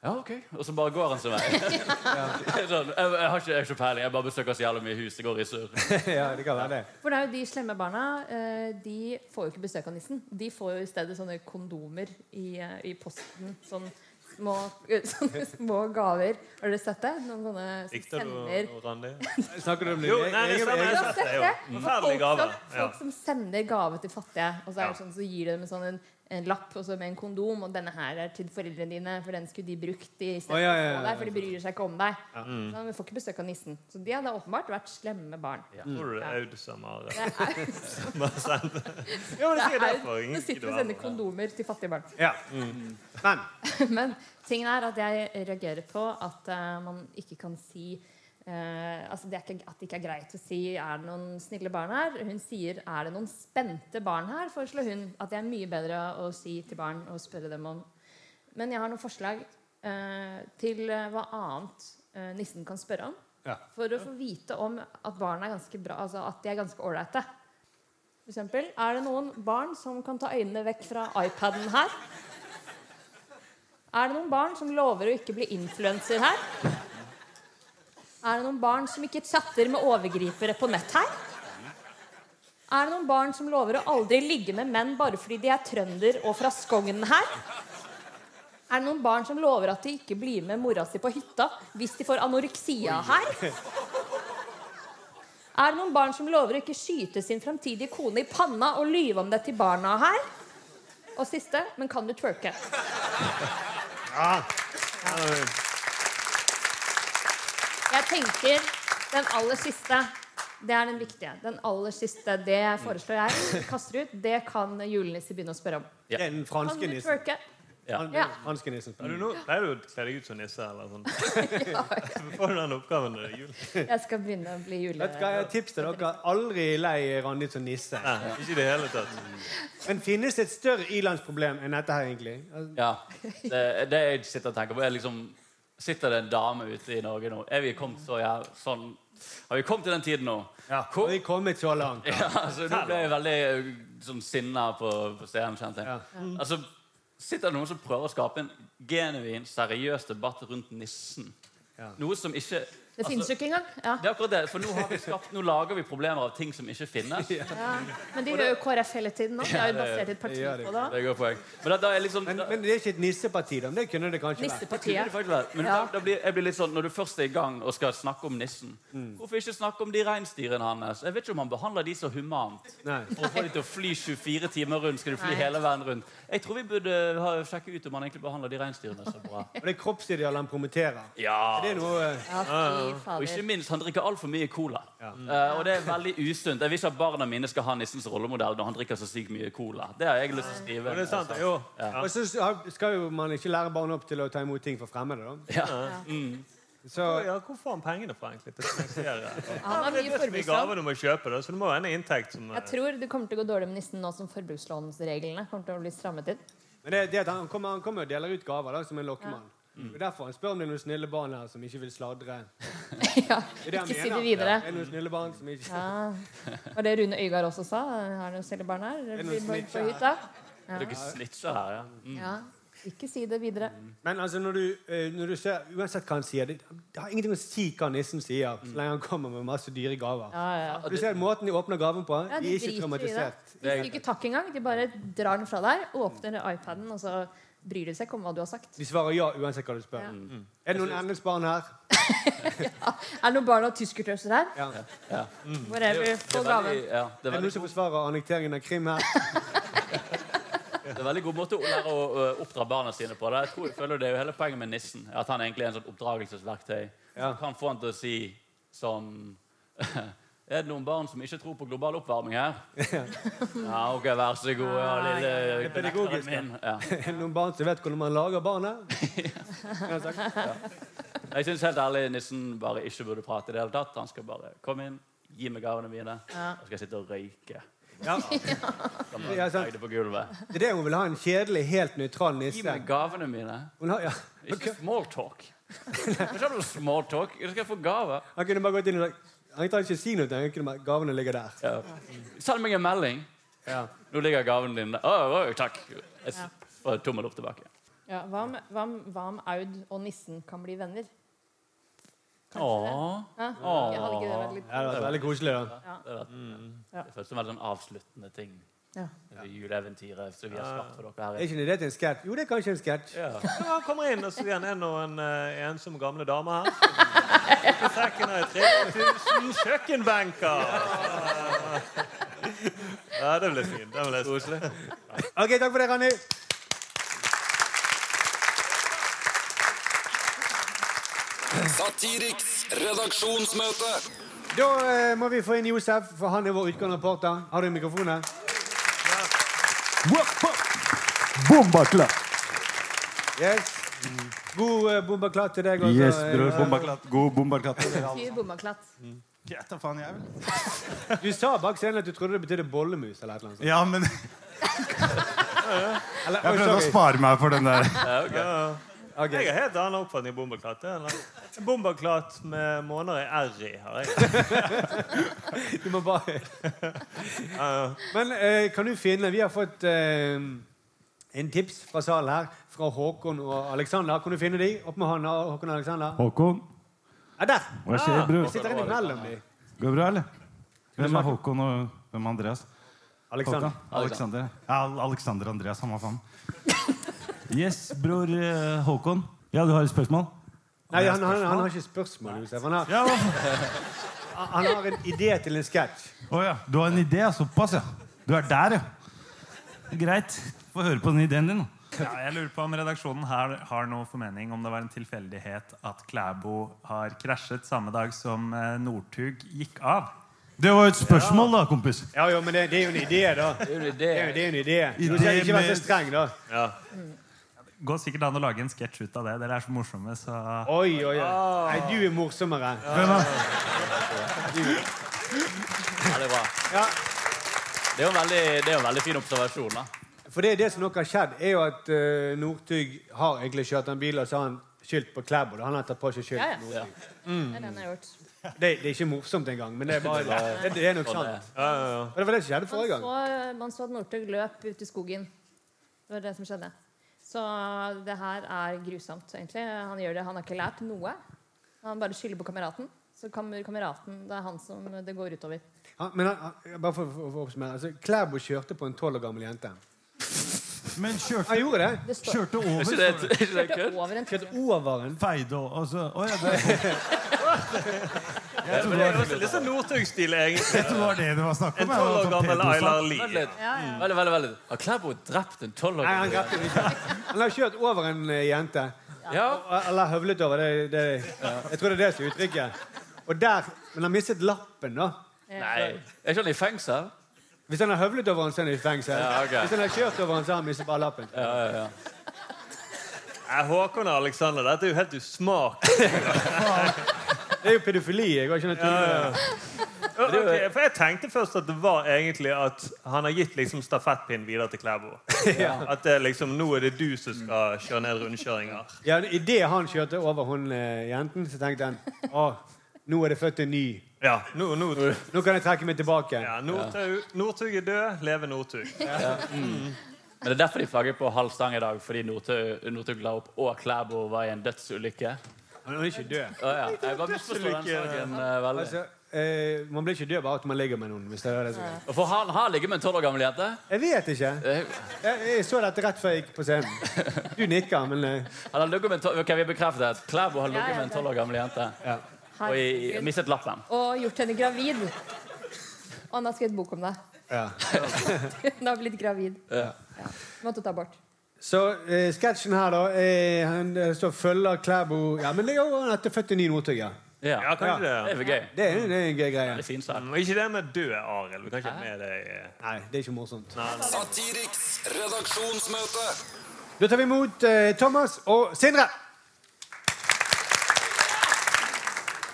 [SPEAKER 4] Ja, ok. Og så bare går han sin vei.
[SPEAKER 5] (laughs)
[SPEAKER 4] Det er sånn, jeg, jeg har ikke, jeg har ikke peiling. Jeg bare besøker så jævlig mye hus. Det går i surr.
[SPEAKER 2] Ja, det kan være det.
[SPEAKER 5] For det er jo de slemme barna eh, De får jo ikke besøk av nissen. De får jo i stedet sånne kondomer i, eh, i posten. Sånn små, (laughs) sånne små gaver. Har dere sett det? Noen sånne som
[SPEAKER 1] Likte du
[SPEAKER 5] sender
[SPEAKER 1] Randi?
[SPEAKER 2] Snakker du om det?
[SPEAKER 1] Jo, nei, det stemmer.
[SPEAKER 5] Du
[SPEAKER 1] Jeg
[SPEAKER 5] har
[SPEAKER 1] har sett det, jo.
[SPEAKER 5] det?
[SPEAKER 1] Forferdelig
[SPEAKER 5] Folk
[SPEAKER 1] gave.
[SPEAKER 5] som,
[SPEAKER 1] Ja.
[SPEAKER 5] folk som sender gave til fattige, og så, er det sånn, så gir de dem sånn en, en lapp og så med en kondom. Og 'denne her er til foreldrene dine, for den skulle de brukt i stedet
[SPEAKER 2] Å, ja, ja,
[SPEAKER 5] for å få
[SPEAKER 2] ja,
[SPEAKER 5] deg', for de bryr seg ikke om deg.
[SPEAKER 1] Mm.
[SPEAKER 5] Så de får ikke besøk av nissen. Så de har da åpenbart vært slemme barn.
[SPEAKER 1] Tror du det er Aud som har
[SPEAKER 5] Det er,
[SPEAKER 1] som har sendt det? Ja, men det sier
[SPEAKER 5] det er,
[SPEAKER 1] derfor. Ingen
[SPEAKER 5] det sitter
[SPEAKER 1] gidder
[SPEAKER 5] og
[SPEAKER 1] være
[SPEAKER 5] sender
[SPEAKER 1] med.
[SPEAKER 5] kondomer til fattige barn.
[SPEAKER 2] Ja. Men
[SPEAKER 5] (laughs) Men tingen er at jeg reagerer på at eh, man ikke kan si eh, altså det er ikke, At det ikke er greit å si 'er det noen snille barn her?' Hun sier 'er det noen spente barn her?' foreslår hun. At det er mye bedre å si til barn og spørre dem om. Men jeg har noen forslag eh, til eh, hva annet eh, nissen kan spørre om.
[SPEAKER 2] Ja.
[SPEAKER 5] For å få vite om at barna er ganske bra Altså at de er ganske ålreite. For eksempel, er det noen barn som kan ta øynene vekk fra iPaden her? Er det noen barn som lover å ikke bli influenser her? Er det noen barn som ikke chatter med overgripere på nett her? Er det noen barn som lover å aldri ligge med menn bare fordi de er trønder og fra Skogn her? Er det noen barn som lover at de ikke blir med mora si på hytta hvis de får anoreksia her? Er det noen barn som lover å ikke skyte sin framtidige kone i panna og lyve om det til barna her? Og siste, men kan du twerke? Jeg tenker den aller siste. Det er den viktige. Den aller siste, det foreslår jeg. Kaster ut. Det kan julenisse begynne å spørre om.
[SPEAKER 2] det er den
[SPEAKER 5] Kan
[SPEAKER 2] franske
[SPEAKER 5] du
[SPEAKER 2] nissen.
[SPEAKER 5] twerke?
[SPEAKER 2] Han-
[SPEAKER 5] Ja.
[SPEAKER 2] Franske nissen.
[SPEAKER 1] Er du nå, pleier du å kle deg ut som nisse eller sånn? Får du den oppgaven når det er jul?
[SPEAKER 5] Jeg skal begynne å bli jule...
[SPEAKER 2] Vet du hva, jeg har et tips til dere. Aldri lei Randi som nisse.
[SPEAKER 1] Nei, ikke i det hele tatt.
[SPEAKER 2] Men finnes det et større ilandsproblem enn dette her, egentlig? Altså,
[SPEAKER 4] Ja. Det, det jeg sitter og tenker på, er liksom Sitter det en dame ute i Norge nå? Er vi kommet så jæv- sånn Har vi kommet til den tiden nå?
[SPEAKER 2] Ja,
[SPEAKER 4] Hvor,
[SPEAKER 2] har vi kommet så langt?
[SPEAKER 4] Ja, altså, nå ble jeg veldig eh, sånn, sinna på, på scenen, kjente jeg.
[SPEAKER 5] Mm.
[SPEAKER 4] Altså, sitter det noen som prøver å skape en genuin, seriøs debatt rundt nissen? Noe som ikke
[SPEAKER 5] Det finnes jo ikke engang. Ja.
[SPEAKER 4] Det er akkurat det, for nå, har vi skapt, nå lager vi problemer av ting som ikke
[SPEAKER 2] (laughs)
[SPEAKER 4] finnes. Det
[SPEAKER 5] Men de gjør jo KrF hele tiden nå. De har jo basert et parti
[SPEAKER 2] Ja, det-
[SPEAKER 5] på det.
[SPEAKER 4] er et godt poeng. Men da, da er liksom...
[SPEAKER 2] Men,
[SPEAKER 4] da-
[SPEAKER 2] men det er ikke et nisseparti, da. Men det kunne det kanskje vært.
[SPEAKER 4] Kunne det
[SPEAKER 5] Nissepartiet.
[SPEAKER 4] faktisk vært. Men
[SPEAKER 5] Ja.
[SPEAKER 4] da, da blir, jeg blir litt sånn, Når du først er i gang og skal snakke om nissen,
[SPEAKER 2] Mm.
[SPEAKER 4] hvorfor ikke snakke om de reinsdyrene hans? Jeg vet ikke om han behandler de så humant.
[SPEAKER 2] Nei.
[SPEAKER 4] For å få de til å fly 24 timer rundt. Skal du fly
[SPEAKER 5] Nei.
[SPEAKER 4] hele verden rundt? Jeg tror vi burde ha, sjekke ut om han egentlig behandler de reinsdyrene så
[SPEAKER 5] (laughs)
[SPEAKER 4] bra.
[SPEAKER 2] Og det er kroppsidealet han promoterer.
[SPEAKER 4] Ja.
[SPEAKER 2] Det er noe eh,
[SPEAKER 5] Ja, fy
[SPEAKER 4] Og ikke
[SPEAKER 5] fader.
[SPEAKER 4] minst, han drikker altfor mye cola. Eh, og det er veldig usunt. Jeg vil ikke at barna mine skal ha nissens rollemodell når han drikker så sykt mye cola. Det har jeg lyst til å skrive.
[SPEAKER 1] Det er sant, jo.
[SPEAKER 2] Og så skal jo man ikke lære barn opp til å ta imot ting fra fremmede, da.
[SPEAKER 4] Ja. Mm.
[SPEAKER 2] Så
[SPEAKER 1] Ja, hvor får han pengene fra, egentlig? til å finansiere?
[SPEAKER 5] Han har
[SPEAKER 1] Det er
[SPEAKER 5] mye
[SPEAKER 1] så mye
[SPEAKER 5] forbrukslån.
[SPEAKER 1] gaver du må kjøpe, da, så du må ha en inntekt som
[SPEAKER 5] Jeg tror det kommer til å gå dårlig med nissen nå som forbrukslånsreglene kommer til å bli strammet inn. (laughs)
[SPEAKER 2] Men det, er det at han kommer, han kommer og deler ut gaver da, som en lokkemann.
[SPEAKER 4] Mm.
[SPEAKER 2] Det er derfor han spør om det er noen snille barn her som ikke vil sladre.
[SPEAKER 5] Ja,
[SPEAKER 2] Det er det han
[SPEAKER 5] ikke si det
[SPEAKER 2] mener.
[SPEAKER 5] videre.
[SPEAKER 2] Er det noen snille barn som ikke...
[SPEAKER 5] Ja. Var Ah. det Rune Øygard også sa? Har noen snille barn her? Eller
[SPEAKER 2] noen Mm.
[SPEAKER 5] blir
[SPEAKER 2] som
[SPEAKER 5] barn
[SPEAKER 2] ikke
[SPEAKER 5] på
[SPEAKER 2] er-
[SPEAKER 5] hytta?
[SPEAKER 4] Dere snitcher her, ja. Mm.
[SPEAKER 5] Ja. Ikke si det videre.
[SPEAKER 2] Men altså, når du, eh, når du ser, uansett hva han sier, det, det har ingenting å si hva nissen sier,
[SPEAKER 4] Mm.
[SPEAKER 2] så lenge han kommer med masse dyre gaver.
[SPEAKER 5] Ja, ja.
[SPEAKER 2] Du ser måten de åpner gaven på,
[SPEAKER 5] Ja,
[SPEAKER 2] de
[SPEAKER 5] de
[SPEAKER 2] er ikke
[SPEAKER 5] driter i det.
[SPEAKER 2] traumatisert.
[SPEAKER 5] De sier ikke takk engang. De bare drar den fra deg, åpner iPaden, og så bryr de seg ikke om hva du har sagt.
[SPEAKER 2] De svarer ja uansett hva du spør.
[SPEAKER 5] Ja.
[SPEAKER 4] Mm.
[SPEAKER 2] Er det noen engelsk barn her?
[SPEAKER 5] Er det noen barn av tyskertørster her?
[SPEAKER 2] Ja. Mm.
[SPEAKER 5] Whatever.
[SPEAKER 4] Det
[SPEAKER 5] Få
[SPEAKER 4] er
[SPEAKER 5] gaven.
[SPEAKER 4] veldig, ja,
[SPEAKER 2] Er
[SPEAKER 4] det er
[SPEAKER 2] det
[SPEAKER 4] veldig
[SPEAKER 2] noen som forsvarer annekteringen av Krim
[SPEAKER 4] (laughs)
[SPEAKER 2] her?
[SPEAKER 4] Det er en veldig god måte å lære å ø, oppdra barna sine på. da. Jeg tror, jeg føler Det er jo hele poenget med nissen. At han egentlig er en sånn oppdragelsesverktøy.
[SPEAKER 2] Ja.
[SPEAKER 4] Som kan få han til å si sånn (laughs) Er det noen barn som ikke tror på global oppvarming her? Ja, OK, vær så god. Ja, lille
[SPEAKER 2] pedagogisk,
[SPEAKER 4] knekteren min. Ja.
[SPEAKER 2] Er det noen barn som vet hvordan man lager
[SPEAKER 4] (laughs)
[SPEAKER 2] barnet?
[SPEAKER 4] Jeg syns helt ærlig nissen bare ikke burde prate i det hele tatt. Han skal bare komme inn, gi meg gavene mine, og så skal jeg sitte og røyke.
[SPEAKER 2] Ja.
[SPEAKER 4] Kan bare
[SPEAKER 2] Ja, sant.
[SPEAKER 4] legge det på gulvet.
[SPEAKER 2] Det er det hun vil ha, en kjedelig, helt nøytral
[SPEAKER 4] Gi
[SPEAKER 2] nisse.
[SPEAKER 4] meg gavene mine.
[SPEAKER 2] Hun har, ja.
[SPEAKER 4] Ikke small talk. Ikke noe small talk. Du skal få gave.
[SPEAKER 2] Han kunne bare gått inn og sagt Han trenger ikke si noe. Han kunne bare, Gavene ligger der.
[SPEAKER 4] Ja. Send meg en melding.
[SPEAKER 2] Ja.
[SPEAKER 4] Nå ligger gaven din der. Å, å, takk. Jeg s- får tommel opp tilbake.
[SPEAKER 5] Ja, hva, om, hva, om, hva om Aud og nissen kan bli venner?
[SPEAKER 4] Åh.
[SPEAKER 5] Ja? Hadde ikke det vært litt
[SPEAKER 2] Det hadde vært veldig koselig. da.
[SPEAKER 4] Det er det. Det føles som en veldig sånn avsluttende ting.
[SPEAKER 5] Ja.
[SPEAKER 4] Det juleeventyret som vi har skapt for dere
[SPEAKER 2] Er
[SPEAKER 4] her.
[SPEAKER 2] ikke en idé til en sketsj? Jo, det er kanskje en sketsj.
[SPEAKER 4] Ja.
[SPEAKER 1] Ja, han kommer inn, og så sier han en og en eh, ensom gamle dame her. På sekken har jeg 3000 kjøkkenbenker! Ja, det blir fint. Det blir koselig.
[SPEAKER 2] OK, takk for det, Randi.
[SPEAKER 9] Satiriks redaksjonsmøte.
[SPEAKER 2] Da eh, må vi få inn Josef, for han er vår utgående reporter. Har du mikrofonen?
[SPEAKER 10] Bombaklatt!
[SPEAKER 2] Yes. God eh, bombaklatt til deg. også,
[SPEAKER 10] Yes,
[SPEAKER 2] eh,
[SPEAKER 10] bror.
[SPEAKER 2] Josef.
[SPEAKER 10] Bombaklatt. God bombaklatt.
[SPEAKER 5] Fyr bommaklatt.
[SPEAKER 10] Gjetta faen jeg vil.
[SPEAKER 2] Du sa bak scenen at du trodde det betydde bollemus eller et eller annet. sånt.
[SPEAKER 10] Ja, men
[SPEAKER 2] (laughs) Eller,
[SPEAKER 10] jeg prøvde å
[SPEAKER 2] oi, sorry.
[SPEAKER 10] spare meg for den der.
[SPEAKER 2] Ok.
[SPEAKER 1] Jeg har helt annen oppfatning av bomberklatt. Det er en annen- Bomberklatt med måneder i r i har jeg.
[SPEAKER 2] Du må
[SPEAKER 10] (laughs)
[SPEAKER 2] bare Men eh, kan du finne Vi har fått eh, en tips fra salen her, fra Håkon og Alexander. Kan du finne de? Opp med hånda, Håkon og Alexander.
[SPEAKER 10] Håkon,
[SPEAKER 2] Ja, der!
[SPEAKER 10] hva skjer, bror?
[SPEAKER 2] Sitter en imellom de.
[SPEAKER 10] Går det bra, eller? Hvem er Håkon, og hvem er Andreas?
[SPEAKER 2] Alexander.
[SPEAKER 10] Håkon? Alexander. Ja, Alexander Andreas, samme faen. Yes, bror eh, Håkon. Ja, du har et spørsmål?
[SPEAKER 2] Nei, han, han, han har ikke spørsmål. Josef. Han har,
[SPEAKER 10] Ja, hva?
[SPEAKER 2] han har en idé til en sketsj.
[SPEAKER 10] Å ja. Du har en idé? ja. Såpass, ja. Du er der, ja. Greit. Få høre på den ideen din. da.
[SPEAKER 11] Ja, jeg lurer på om redaksjonen her har noe formening om det var en tilfeldighet at Klæbo har krasjet samme dag som eh, Northug gikk av.
[SPEAKER 10] Det var jo et spørsmål, da, kompis.
[SPEAKER 2] Ja, jo, men det, det er jo en idé, da. Det
[SPEAKER 4] Det er jo
[SPEAKER 2] er jo,
[SPEAKER 4] en idé.
[SPEAKER 2] det er jo en idé.
[SPEAKER 10] Idé
[SPEAKER 2] Du skal ikke være
[SPEAKER 10] med-
[SPEAKER 2] så streng, da.
[SPEAKER 11] Går sikkert an å lage en sketsj ut av det. Dere er så morsomme, så
[SPEAKER 2] Oi, oi, oi. Nei, du er morsommere.
[SPEAKER 10] Hvem er?
[SPEAKER 4] Ja, det er bra.
[SPEAKER 2] Ja,
[SPEAKER 4] Det er jo en veldig, det er jo en veldig fin observasjon. da.
[SPEAKER 2] for det, det som nok har skjedd, er jo at eh, Northug har egentlig kjørt en bil, og så har han skyldt på Klæbo. da. Han har tatt på seg skyld.
[SPEAKER 5] Ja, ja.
[SPEAKER 2] Northug.
[SPEAKER 5] Det er det han har gjort.
[SPEAKER 2] Det, det er ikke morsomt engang, men det er, bare, det, det er nok
[SPEAKER 4] Sånn
[SPEAKER 2] sant.
[SPEAKER 4] er.
[SPEAKER 1] Ja, ja, ja.
[SPEAKER 2] Og det var det som skjedde
[SPEAKER 5] Man
[SPEAKER 2] forrige gang.
[SPEAKER 5] så, man så at Northug løp ut i skogen. Det var det som skjedde. Så det her er grusomt, egentlig. Han gjør det. Han har ikke lært noe. Han bare skylder på kameraten. Så kommer kameraten, det er han som det går utover.
[SPEAKER 12] Ja, men han- han- bare for, for, for å oppsummere. Altså, Klæbo kjørte på en tolv år gammel jente.
[SPEAKER 13] Men kjørte
[SPEAKER 12] Han gjorde det?
[SPEAKER 5] Det står-
[SPEAKER 13] Kjørte over.
[SPEAKER 12] Er ikke det-
[SPEAKER 13] står det.
[SPEAKER 12] er ikke det
[SPEAKER 5] Kjørte over en tur.
[SPEAKER 12] Over en
[SPEAKER 13] Feide og altså, å ja, det,
[SPEAKER 1] Ja, men det er også litt sånn Northug-stil, egentlig.
[SPEAKER 13] det var det det var snakk om.
[SPEAKER 1] En tolv år
[SPEAKER 10] sånn
[SPEAKER 1] gammel Ayla
[SPEAKER 4] Vent
[SPEAKER 1] Lie.
[SPEAKER 4] litt. Mm. Veldig, veldig, veldig. Har Klæbo drept
[SPEAKER 12] Nei, han
[SPEAKER 4] en tolvåring?
[SPEAKER 12] drepte ikke. Han har kjørt over en eh, jente.
[SPEAKER 4] Ja.
[SPEAKER 12] Og- Eller høvlet over. Det, det, jeg tror det er det som er uttrykket. Og der, Men han mistet lappen, da.
[SPEAKER 4] Nei. Er ikke han i fengsel?
[SPEAKER 12] Hvis han har høvlet over han, så er han i fengsel.
[SPEAKER 4] Ja, ok.
[SPEAKER 12] Hvis han har kjørt over han, så har han mistet bare lappen.
[SPEAKER 4] Ja, ja, ja.
[SPEAKER 1] Nei, Håkon og Alexander, dette er jo helt usmakelig.
[SPEAKER 12] Det er jo pedofili. jeg har ikke noe tvil om (laughs) det.
[SPEAKER 1] Ja, ok, For jeg tenkte først at det var egentlig at han har gitt liksom stafettpinnen videre til Klæbo.
[SPEAKER 12] (laughs)
[SPEAKER 1] At det er liksom, nå er det du som skal kjøre ned rundkjøringer.
[SPEAKER 12] Ja, Idet han kjørte over hun eh, jenten, så tenkte han å, nå er det født en ny.
[SPEAKER 1] Ja, nå, nå,
[SPEAKER 12] Nå kan jeg trekke meg tilbake.
[SPEAKER 1] ja, Northug, Northug er død, leve Northug.
[SPEAKER 4] Men det er derfor de flagger på halv stang i dag, fordi Northug Northug la opp og Klæbo var i en dødsulykke.
[SPEAKER 12] Han er ikke død.
[SPEAKER 4] Å, ja. Jeg bare misforstår den saken eh, veldig.
[SPEAKER 12] Altså, eh, man blir ikke død bare at man ligger med noen. hvis det er det som er.
[SPEAKER 4] Og For han har ligget med en tolv år gammel jente.
[SPEAKER 12] Jeg vet ikke.
[SPEAKER 4] Eh,
[SPEAKER 12] Jeg, jeg så dette rett før jeg gikk på scenen. Du nikker, men eh,
[SPEAKER 4] Han har ligget med en tolv... Ok, vi bekrefter at Klæbo har
[SPEAKER 5] Ja,
[SPEAKER 4] ligget
[SPEAKER 5] ja,
[SPEAKER 4] med en
[SPEAKER 5] det-
[SPEAKER 4] tolv år gammel jente. Og i, i,
[SPEAKER 5] Herregud.
[SPEAKER 4] mistet lappen.
[SPEAKER 5] Og gjort henne gravid. Og han har skrevet bok om det. (laughs)
[SPEAKER 12] ja.
[SPEAKER 5] Hun har blitt gravid.
[SPEAKER 4] Ja.
[SPEAKER 5] Måtte ta abort.
[SPEAKER 12] Så eh, sketsjen her, da. Eh, han eh, står og følger Klæbo Ja, men det er jo at det er født en ny Northug, ja.
[SPEAKER 1] Ja,
[SPEAKER 4] Ja.
[SPEAKER 1] kanskje
[SPEAKER 4] Det
[SPEAKER 1] det.
[SPEAKER 4] er for gøy.
[SPEAKER 12] Det er, det er en gøy
[SPEAKER 4] Det
[SPEAKER 12] greie.
[SPEAKER 4] er fin sak.
[SPEAKER 1] Men ikke det med død, Arild. Du kan ikke ha med deg eh,
[SPEAKER 12] Nei, det er ikke morsomt.
[SPEAKER 9] Satiriks redaksjonsmøte.
[SPEAKER 12] Da tar vi imot eh, Thomas og Sindre.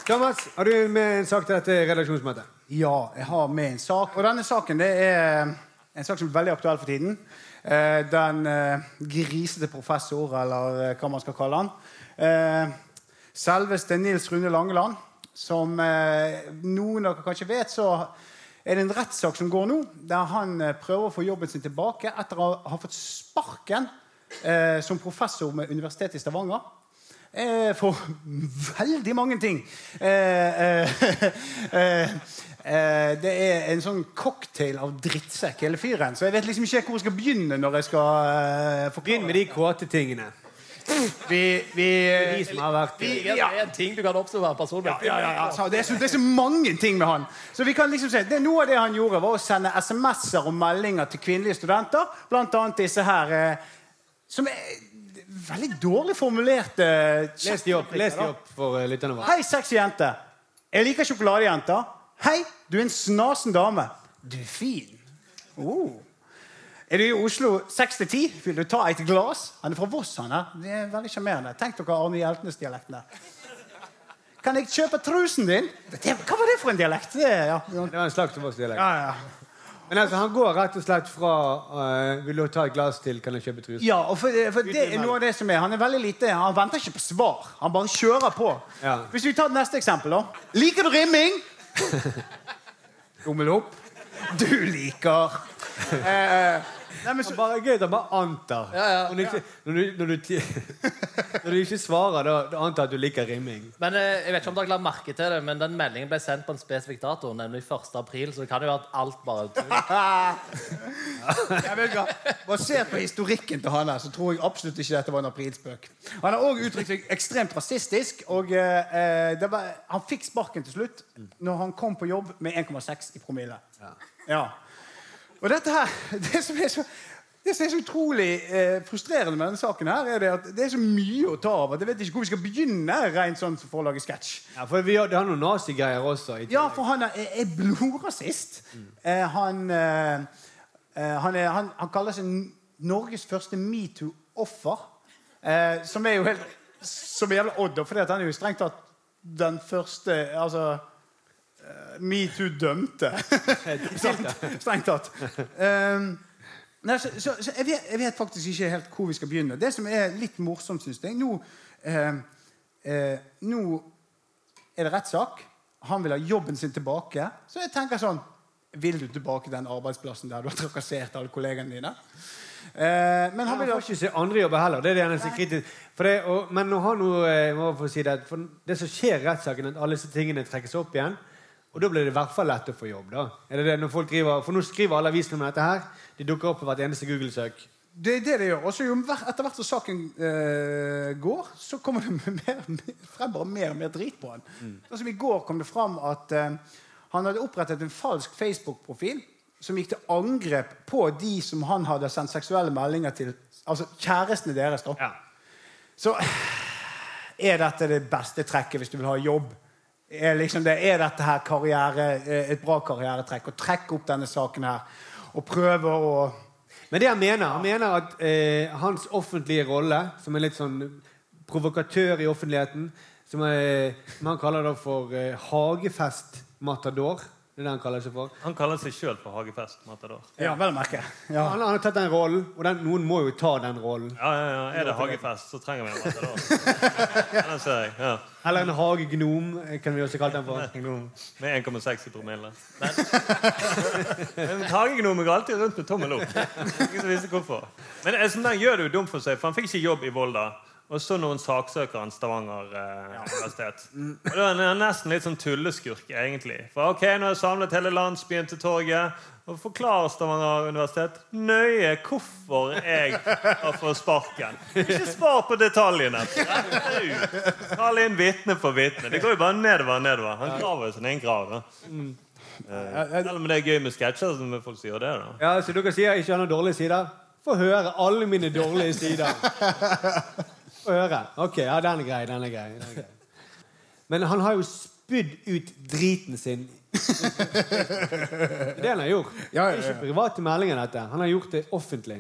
[SPEAKER 12] Thomas, har du med en sak til dette redaksjonsmøtet?
[SPEAKER 2] Ja, jeg har med en sak. Og denne saken det er en sak som er veldig aktuell for tiden. Eh, Den eh, grisete professor, eller eh, hva man skal kalle han. Eh, Selveste Nils Rune Langeland. Som eh, noen av dere kanskje vet, så er det en rettssak som går nå, der han eh, prøver å få jobben sin tilbake etter å ha fått sparken eh, som professor med Universitetet i Stavanger. Eh, for veldig mange ting. Eh, (laughs) eh, eh, eh, det er en sånn cocktail av drittsekk, hele fyren. Så jeg vet liksom ikke hvor jeg skal begynne. når jeg skal eh,
[SPEAKER 12] Begynn med
[SPEAKER 2] forklare.
[SPEAKER 12] de kåte tingene.
[SPEAKER 2] Vi, vi,
[SPEAKER 12] De som har vært
[SPEAKER 2] vi,
[SPEAKER 12] eh,
[SPEAKER 2] ja,
[SPEAKER 4] en ting du kan oppsummere personlig.
[SPEAKER 2] ja, ja, ja, altså, det, er så, det er så mange ting med han. Så vi kan liksom se, det, Noe av det han gjorde, var å sende SMS-er og meldinger til kvinnelige studenter. Blant annet disse her eh, som er veldig dårlig formulerte
[SPEAKER 12] Les de opp, les de opp for eh, lytterne våre.
[SPEAKER 2] Hei, sexy jente. Jeg liker sjokoladejenter. Hei, du er en snasen dame. Du er fin. Oh. Er du i Oslo 6 til 10? Vil du ta et glass? Han er fra Voss, han her. Det er veldig sjarmerende. Tenk dere Arne Hjeltnes-dialekten der. Kan jeg kjøpe trusen din? Det, hva var det for en dialekt? Det, ja. Ja,
[SPEAKER 12] Det var en slags dialekt.
[SPEAKER 2] ja.
[SPEAKER 12] Men altså, han går rett og slett fra eh, 'Vil du ta et glass til? Kan jeg kjøpe truse?'
[SPEAKER 2] ja, og for, for det er noe av det som er. Han er veldig lite, han venter ikke på svar. Han bare kjører på.
[SPEAKER 12] Ja.
[SPEAKER 2] Hvis vi tar det neste eksempel, da. Liker du rimming?
[SPEAKER 12] (laughs) Tommel opp.
[SPEAKER 2] Du liker eh, nei, men
[SPEAKER 12] Det
[SPEAKER 2] så,
[SPEAKER 12] er bare gøy at han bare antar. Når, du ikke, når, du, når, du, ti- når du ikke svarer, da, da antar jeg at du liker rimming.
[SPEAKER 14] Men eh, jeg vet ikke om dere la merke til det, men den meldingen ble sendt på en spesifikk dato, nemlig 1. april, så det kan jo være at alt bare
[SPEAKER 2] jeg vet ikke. Basert på historikken til han her, så tror jeg absolutt ikke dette var en aprilspøk. Han har òg uttrykt seg ekstremt rasistisk, og eh, eh, det var, han fikk sparken til slutt når han kom på jobb med 1,6 i promille. Ja. Og dette her, det som er så, det som er så utrolig eh, frustrerende med denne saken, her, er det at det er så mye å ta av at jeg vet ikke hvor vi skal begynne rent sånn for å lage sketsj.
[SPEAKER 12] Ja, for vi har, det har noen nazigreier også. i tillegg. Mm.
[SPEAKER 2] Ja, for han er, er blodrasist. Eh, han, eh, eh, han, er, han, han kaller seg N- Norges første metoo-offer. Eh, som er jo helt som er jævla odd, for han er jo strengt tatt den første Altså eh,
[SPEAKER 12] (laughs)
[SPEAKER 2] metoo-dømte. strengt, strengt tatt. Um, Nei, så, så, så jeg, vet, jeg vet faktisk ikke helt hvor vi skal begynne. Det som er litt morsomt, syns jeg Nå, eh, eh, nå er det rettssak. Han vil ha jobben sin tilbake. Så jeg tenker sånn Vil du tilbake til den arbeidsplassen der du har trakassert alle kollegene dine?
[SPEAKER 8] Eh, men han
[SPEAKER 2] Han
[SPEAKER 8] vil
[SPEAKER 2] får ikke se andre jobber heller. Det er det eneste kritisk. For det, og, men nå har nå, eh, jeg må få si det, for det som skjer i rettssaken, er at alle disse tingene trekkes opp igjen. Og da blir det i hvert fall lett å få jobb. da. Er det det når folk skriver, For nå skriver alle avisene om dette her. De dukker opp på hvert eneste Google-søk.
[SPEAKER 8] Det er det det gjør. Og så jo mer- etter hvert som saken eh, går, så kommer det (laughs) mer, frem bare mer og mer drit på han.
[SPEAKER 2] Mm.
[SPEAKER 8] Sånn som I går kom det fram at eh, han hadde opprettet en falsk Facebook-profil som gikk til angrep på de som han hadde sendt seksuelle meldinger til. Altså kjærestene deres. da. Så er dette det beste trekket hvis du vil ha jobb? Er, liksom det, er dette her karriere, eh, et bra karrieretrekk? Å trekke opp denne saken her og prøve å
[SPEAKER 2] Men det han mener, han mener at eh, hans offentlige rolle, som er litt sånn provokatør i offentligheten, som, er, som han kaller det for eh, hagefest-matador Det er det han kaller seg for.
[SPEAKER 1] Han kaller seg sjøl for Hagefest Matador.
[SPEAKER 8] Ja, vel å merke.
[SPEAKER 2] Han, han har tatt den rollen, og den, noen må jo ta den rollen.
[SPEAKER 1] Ja, ja, ja. Er det Hagefest, så trenger vi en Matador. (laughs) Ja, Den ser jeg. Ja.
[SPEAKER 2] Eller en hagegnom, eh, kan vi også kalle den for.
[SPEAKER 1] Med 1,6 i promille. Men, men hagegnomen går alltid rundt med tommel opp. Ingen som visste hvorfor. Men eh, sånn der gjør det jo dumt for seg, for han fikk ikke jobb i Volda. Og så noen saksøker han Stavanger eh, universitet. Og da er han nesten litt sånn tulleskurk, egentlig. For ok, nå har jeg samlet hele landsbyen til torget. Og forklarer Stavanger universitet nøye hvorfor jeg har fått sparken. Ikke svar på detaljene. Kall inn vitne for vitne. Det går jo bare nedover og nedover. Han graver jo sin egen grav. da. Eh, Selv om det er gøy med sketsjer, som folk som gjør det. da.
[SPEAKER 2] Ja, Så dere sier ikke han har dårlige sider? Få høre alle mine dårlige sider. Få høre. Ok, ja, den er grei. Den er grei. Den er grei. Men han har jo spydd ut driten sin. Det er det han har gjort.
[SPEAKER 8] Ja, ja, ja.
[SPEAKER 2] Det er ikke private meldinger, dette. Han har gjort det offentlig.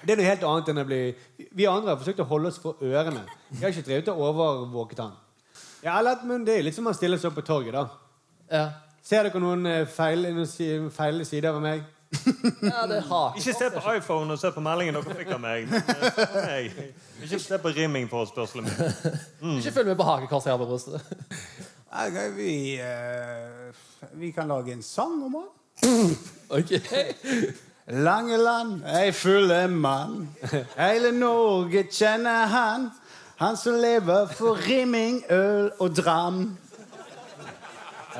[SPEAKER 2] Det er noe helt annet enn å bli Vi andre har forsøkt å holde oss for ørene. Vi har ikke drevet og overvåket han. Ja, eller, men det er litt som han stiller seg opp på torget, da. Ser dere noen eh, feil, noen si- feil sider av meg?
[SPEAKER 15] Ja, det er hak.
[SPEAKER 1] Ikke se på iPhone og se på meldingen dere fikk av meg. Nei. Ikke se på rimmingforespørselen min.
[SPEAKER 15] Ikke følg med på hakekorset jeg har på brystet.
[SPEAKER 8] Nei, nei, vi, eh, vi kan lage en sang om han. Langeland, ei fulle mann. Hele Norge kjenner han. Han som lever for rimming, øl og dram.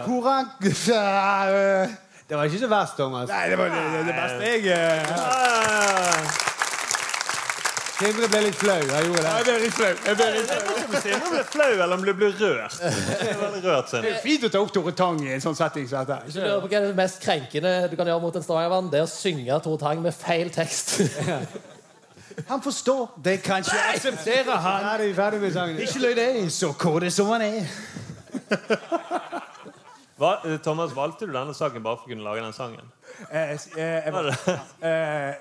[SPEAKER 8] Hvor han (laughs) Det
[SPEAKER 2] var ikke så verst, Thomas.
[SPEAKER 8] Nei, det var det, det, det beste jeg eh,
[SPEAKER 2] Sindre ble litt flau. Jeg gjorde det.
[SPEAKER 8] Jeg ble litt flau. Jeg ble litt flau.
[SPEAKER 1] Sindre ble flau, eller han ble ble rørt. Jeg ble veldig
[SPEAKER 8] Det er
[SPEAKER 1] rørt, Sindre.
[SPEAKER 8] jo fint å ta opp Tore Tang i en sånn setting som
[SPEAKER 15] Hvis du lurer
[SPEAKER 8] dette.
[SPEAKER 15] på Hva er det mest krenkende du kan gjøre mot en stavangervann? Det er å synge Tore Tang med feil tekst. (laughs)
[SPEAKER 8] Han forstår. Det kan ikke akseptere han.
[SPEAKER 2] Nei, det er vi ferdig med sangen.
[SPEAKER 8] Ikke løy deg, så kåt som han er.
[SPEAKER 1] Hva- eh, Thomas, valgte du denne saken bare for å kunne lage den sangen?
[SPEAKER 8] Eh, s- eh, jeg- eh,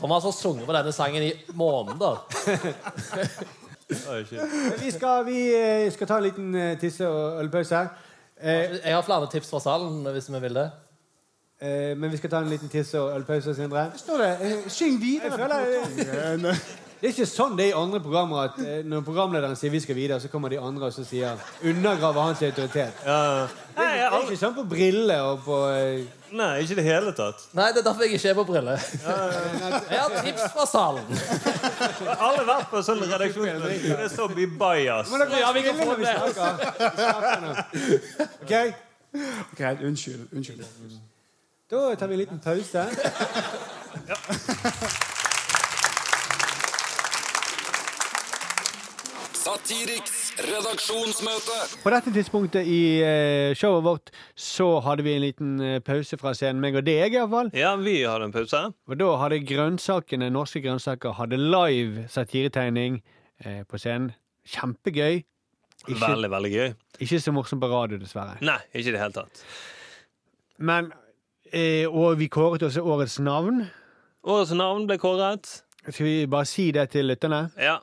[SPEAKER 15] Han har altså sunget på denne sangen i måneder.
[SPEAKER 2] Men Vi skal, vi eh, skal ta en liten eh, tisse- og ølpause her.
[SPEAKER 15] Eh, Jeg har flere tips fra salen hvis vi vil det.
[SPEAKER 2] Eh, men vi skal ta en liten tisse- og ølpause, Sindre.
[SPEAKER 8] Står det eh, 'syng videre'?
[SPEAKER 2] Jeg føler- eh,
[SPEAKER 8] Nei.
[SPEAKER 2] Det er ikke sånn det er i andre programmer at eh, når programlederen sier vi skal videre, så kommer de andre og så sier undergraver hans autoritet. Det er ikke- det er ikke sånn på briller og på eh,
[SPEAKER 1] Nei, ikke i det hele tatt.
[SPEAKER 15] Nei, det er derfor jeg ikke er på briller. (laughs) Jeg har tips fra salen.
[SPEAKER 1] Har Alle vært på sånn redaksjonsmøte. Det er så mye bias.
[SPEAKER 2] Men dere
[SPEAKER 15] Ja, vi kan
[SPEAKER 2] spiller
[SPEAKER 15] få
[SPEAKER 2] når vi
[SPEAKER 15] det.
[SPEAKER 2] snakker. OK?
[SPEAKER 8] Greit. Unnskyld. Unnskyld.
[SPEAKER 2] Da tar vi en liten pause.
[SPEAKER 9] Satiriks redaksjonsmøte.
[SPEAKER 2] På dette tidspunktet i eh, showet vårt så hadde vi en liten eh, pause fra scenen, meg og deg iallfall.
[SPEAKER 1] Ja, vi hadde en pause.
[SPEAKER 2] Og da hadde grønnsakene, norske grønnsaker hadde live satiretegning eh, på scenen. Kjempegøy. Ikke-
[SPEAKER 1] Veldig, veldig gøy.
[SPEAKER 2] Ikke så morsomt på radio, dessverre.
[SPEAKER 1] Nei, ikke i det hele tatt.
[SPEAKER 2] Men eh, Og vi kåret også årets navn.
[SPEAKER 1] Årets navn ble kåret.
[SPEAKER 2] Skal vi bare si det til lytterne?
[SPEAKER 1] Ja.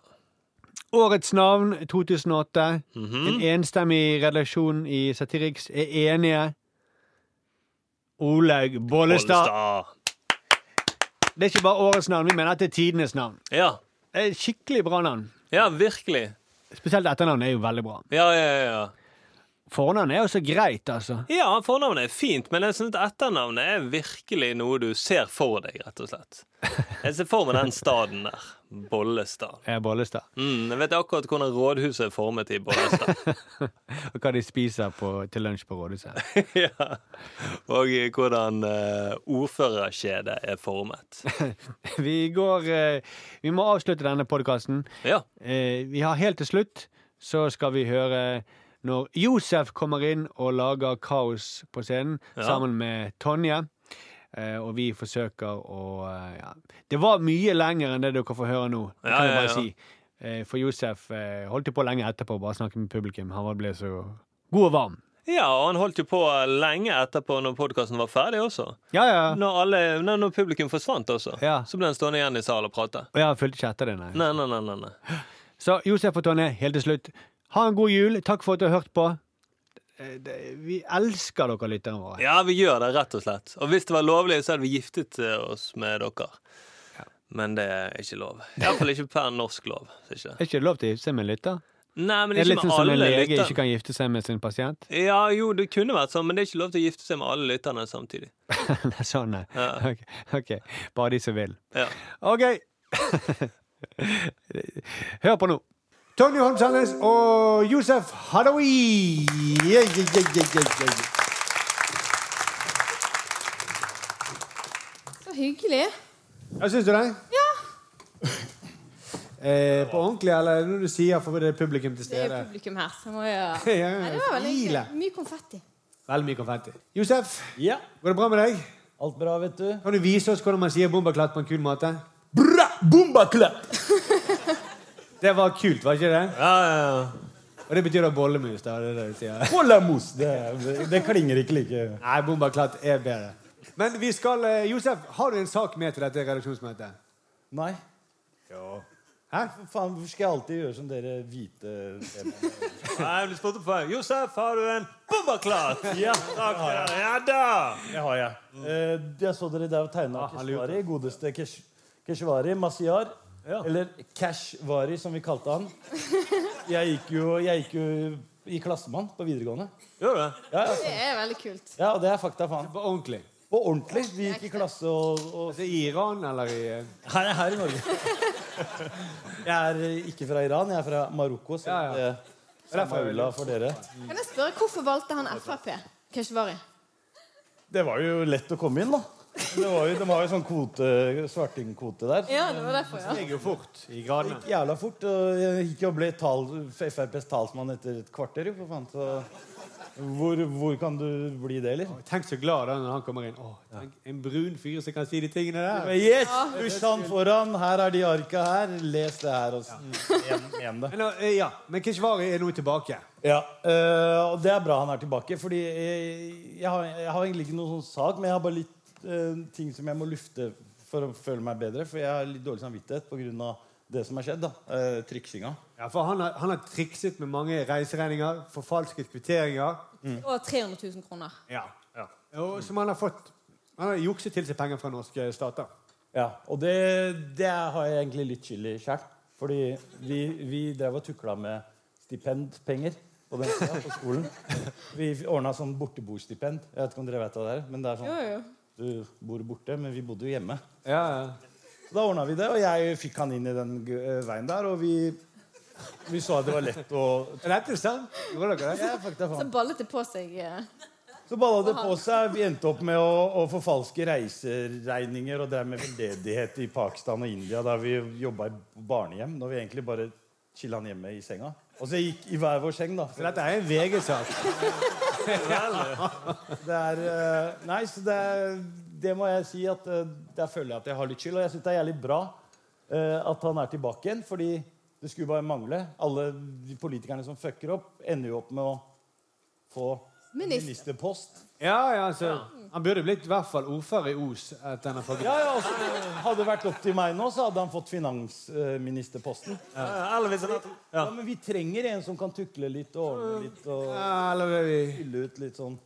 [SPEAKER 2] Årets navn 2008. En enstemmig redaksjon i Satiriks er enige. Olaug Bollestad.
[SPEAKER 1] Bollestad.
[SPEAKER 2] Det er ikke bare årets navn, vi mener at det er tidenes navn.
[SPEAKER 1] Ja.
[SPEAKER 2] Det er et Skikkelig bra navn.
[SPEAKER 1] ja, virkelig.
[SPEAKER 2] Spesielt etternavnet er jo veldig bra.
[SPEAKER 1] Ja, ja, ja.
[SPEAKER 16] Fornavnet er jo så greit, altså.
[SPEAKER 1] Ja, fornavnet er fint, men jeg synes at etternavnet er virkelig noe du ser for deg, rett og slett. Jeg ser for meg den staden der. Bollestad.
[SPEAKER 16] Jeg er Bollestad.
[SPEAKER 1] Mm, jeg vet akkurat hvordan rådhuset er formet i Bollestad.
[SPEAKER 16] (laughs)
[SPEAKER 1] (laughs)
[SPEAKER 16] Og hva de spiser på, til lunsj på rådhuset.
[SPEAKER 2] (laughs)
[SPEAKER 1] ja. Og eh, hvordan uh, ordførerkjedet er formet.
[SPEAKER 16] Vi går eh, Vi må avslutte denne podkasten. Eh, vi har helt til slutt så skal vi høre når Josef kommer inn og lager kaos på scenen
[SPEAKER 17] Ja.
[SPEAKER 16] sammen med Tonje. Eh, og vi forsøker å eh, ja. Det var mye lenger enn det dere får høre nå. Det
[SPEAKER 1] Ja,
[SPEAKER 16] kan jeg
[SPEAKER 1] ja,
[SPEAKER 16] bare
[SPEAKER 1] ja.
[SPEAKER 16] si. Eh, for Josef eh, holdt jo på lenge etterpå, bare snakke med publikum. Han var- ble så god og varm.
[SPEAKER 1] Ja, og han holdt jo på lenge etterpå når podkasten var ferdig også.
[SPEAKER 16] Ja, ja.
[SPEAKER 1] Når, alle, nei, når publikum forsvant også,
[SPEAKER 16] Ja.
[SPEAKER 1] så ble han stående igjen i salen og prate.
[SPEAKER 16] Og jeg fulgte ikke etter det, nei.
[SPEAKER 1] Nei, nei, nei, nei, nei.
[SPEAKER 16] Så Josef og Tonje, helt til slutt, ha en god jul. Takk for at du har hørt på. Eh, det- Vi elsker dere lytterne våre.
[SPEAKER 1] Ja, vi gjør det, rett og slett. Og hvis det var lovlig, så hadde vi giftet eh, oss med dere. Men det er ikke lov. Iallfall ikke per norsk lov. så Ikke.
[SPEAKER 16] Er ikke det lov til å gifte seg med en lytter?
[SPEAKER 1] Nei, men
[SPEAKER 16] er det
[SPEAKER 1] ikke
[SPEAKER 16] litt
[SPEAKER 1] med
[SPEAKER 16] sånn som en
[SPEAKER 1] Liksom alle
[SPEAKER 16] lege
[SPEAKER 1] lytterne.
[SPEAKER 16] ikke kan gifte seg med sin pasient? (laughs)
[SPEAKER 1] Ja, jo, det kunne vært sånn, men det er ikke lov til å gifte seg med alle lytterne samtidig.
[SPEAKER 16] Nei, sånn, nei.
[SPEAKER 1] Ja.
[SPEAKER 16] Ok, ok. Bare de som vil.
[SPEAKER 1] Ja.
[SPEAKER 16] OK. (laughs) Hør på nå.
[SPEAKER 2] Tony Holm Sandnes og Josef Hadaoui. Yeah, yeah, yeah, yeah, yeah, yeah.
[SPEAKER 5] Så hyggelig.
[SPEAKER 2] Ja, syns du det?
[SPEAKER 5] Ja.
[SPEAKER 2] (laughs) Eh, på ordentlig, eller er det noe du sier for det er publikum til
[SPEAKER 5] Det er
[SPEAKER 2] stede?
[SPEAKER 5] jo publikum her, så må
[SPEAKER 2] Ja,
[SPEAKER 5] jeg
[SPEAKER 2] (laughs) ja,
[SPEAKER 5] Nei, Det var veldig hyggelig.
[SPEAKER 2] smile.
[SPEAKER 5] Mye konfetti.
[SPEAKER 2] Veldig mye konfetti. Josef, går det bra med deg? Alt bra, vet du. Kan du vise oss hvordan man sier 'bombaklatt' på en kul måte? Bra! Bombaklatt! (laughs) det var kult, var ikke det? Ja, ja, ja. Og det betyr da bollemus. da, det er det du sier. Bollemus! Det, klinger ikke like Nei, 'bombaklatt' er bedre. Men vi skal, eh, Josef, har du en sak med til dette redaksjonsmøtet?
[SPEAKER 13] Nei.
[SPEAKER 2] Hæ?
[SPEAKER 13] For faen, hvorfor skal jeg alltid gjøre som dere hvite temaene?
[SPEAKER 18] Nei, jeg ble spurt opp for Josef, har du en bomberklart?
[SPEAKER 13] (laughs) Ja.
[SPEAKER 18] Takk, ja, ja da! Ah,
[SPEAKER 13] Det har jeg. Eh, jeg så dere der og tegna Keshvari. Godeste Kesh Keshvari Masiar. Eller Cashvari, som vi kalte han. Jeg gikk jo, jeg gikk jo i klassemann på videregående.
[SPEAKER 18] Gjør du det?
[SPEAKER 13] Ja, ja.
[SPEAKER 5] Det er veldig kult.
[SPEAKER 13] ja, og det er fakta, faen.
[SPEAKER 2] På ordentlig?
[SPEAKER 13] På ordentlig. Vi gikk i klasse og, og...
[SPEAKER 2] Altså, I Iran, eller i eh,
[SPEAKER 13] Her, her i Norge. Jeg er eh, ikke fra Iran, jeg er fra Marokko. Så det er samme ulla for dere.
[SPEAKER 5] Kan jeg spørre, Hvorfor valgte han Frp? Keshvari?
[SPEAKER 13] Det var jo lett å komme inn, da. Det var jo, de har jo sånn kvote, svartingkvote der.
[SPEAKER 5] Ja, det var derfor, ja. Det gikk
[SPEAKER 2] jo fort i
[SPEAKER 13] Det gikk jævla fort. Og jeg gikk jo og ble tal, FrPs talsmann etter et kvarter, jo, for faen. Så hvor, hvor kan du bli det, eller?
[SPEAKER 2] Tenk så glad da når han kommer inn. Åh, tenk, en brun fyr som kan si de tingene der.
[SPEAKER 13] Men Yes! Dusjan foran, her er de arka her. Les det her. altså. Og, men,
[SPEAKER 2] nå, eh, ja, men Keshvari er nå tilbake.
[SPEAKER 13] Ja, øh, og det er bra han er tilbake. Fordi jeg, jeg, har, jeg har egentlig ikke noen sånn sak, men jeg har bare litt øh, ting som jeg må lufte for å føle meg bedre. For jeg har litt dårlig samvittighet pga. det som har skjedd. da, øh, Triksinga.
[SPEAKER 2] Ja, for han har, han har trikset med mange reiseregninger, forfalsket kvitteringer.
[SPEAKER 5] Og 300 000 kroner.
[SPEAKER 2] Ja. Og, som han har fått. Han har jukset til seg penger fra norske stater.
[SPEAKER 13] Ja, Og det, det har jeg egentlig litt skyld i sjøl. Fordi vi, vi drev og tukla med stipendpenger på den tida på skolen. Vi ordna sånn borteboerstipend. Jeg vet ikke om dere vet hva det er. men det er sånn...
[SPEAKER 5] Jo, jo.
[SPEAKER 13] Du bor borte, men vi bodde jo hjemme.
[SPEAKER 2] Ja,
[SPEAKER 13] Så da ordna vi det, og jeg fikk han inn i den g- eh, veien der, og vi vi så at det var lett å
[SPEAKER 2] Rett og slett. Gjorde dere
[SPEAKER 13] Ja, fuck deg,
[SPEAKER 5] Så
[SPEAKER 13] faen.
[SPEAKER 5] ballet det på seg. eh.
[SPEAKER 13] Så balla det på seg. Vi endte opp med å, å forfalske reiseregninger og drev med veldedighet i Pakistan og India da vi jobba i barnehjem. Når vi egentlig bare chilla han hjemme i senga. Og så gikk i hver vår seng, da. Så
[SPEAKER 2] dette er en VG-sak.
[SPEAKER 13] Det er eh, Nei, så det, er, det må jeg si at eh, der føler jeg at jeg har litt skyld. Og jeg syns det er jævlig bra eh, at han er tilbake igjen, fordi det skulle bare mangle. Alle de politikerne som fucker opp, ender jo opp med å få
[SPEAKER 5] Minister.
[SPEAKER 13] ministerpost.
[SPEAKER 2] Ja, ja, altså, Han burde blitt i hvert fall ordfører i Os. Etter han har fått...
[SPEAKER 13] Ja, ja, altså, Hadde det vært opp til meg nå, så hadde han fått finansministerposten.
[SPEAKER 2] Ja, eller hvis han hadde-
[SPEAKER 13] ja, Men vi trenger en som kan tukle litt og ordne litt og
[SPEAKER 2] Ja, eller vi-
[SPEAKER 13] fylle ut litt sånn.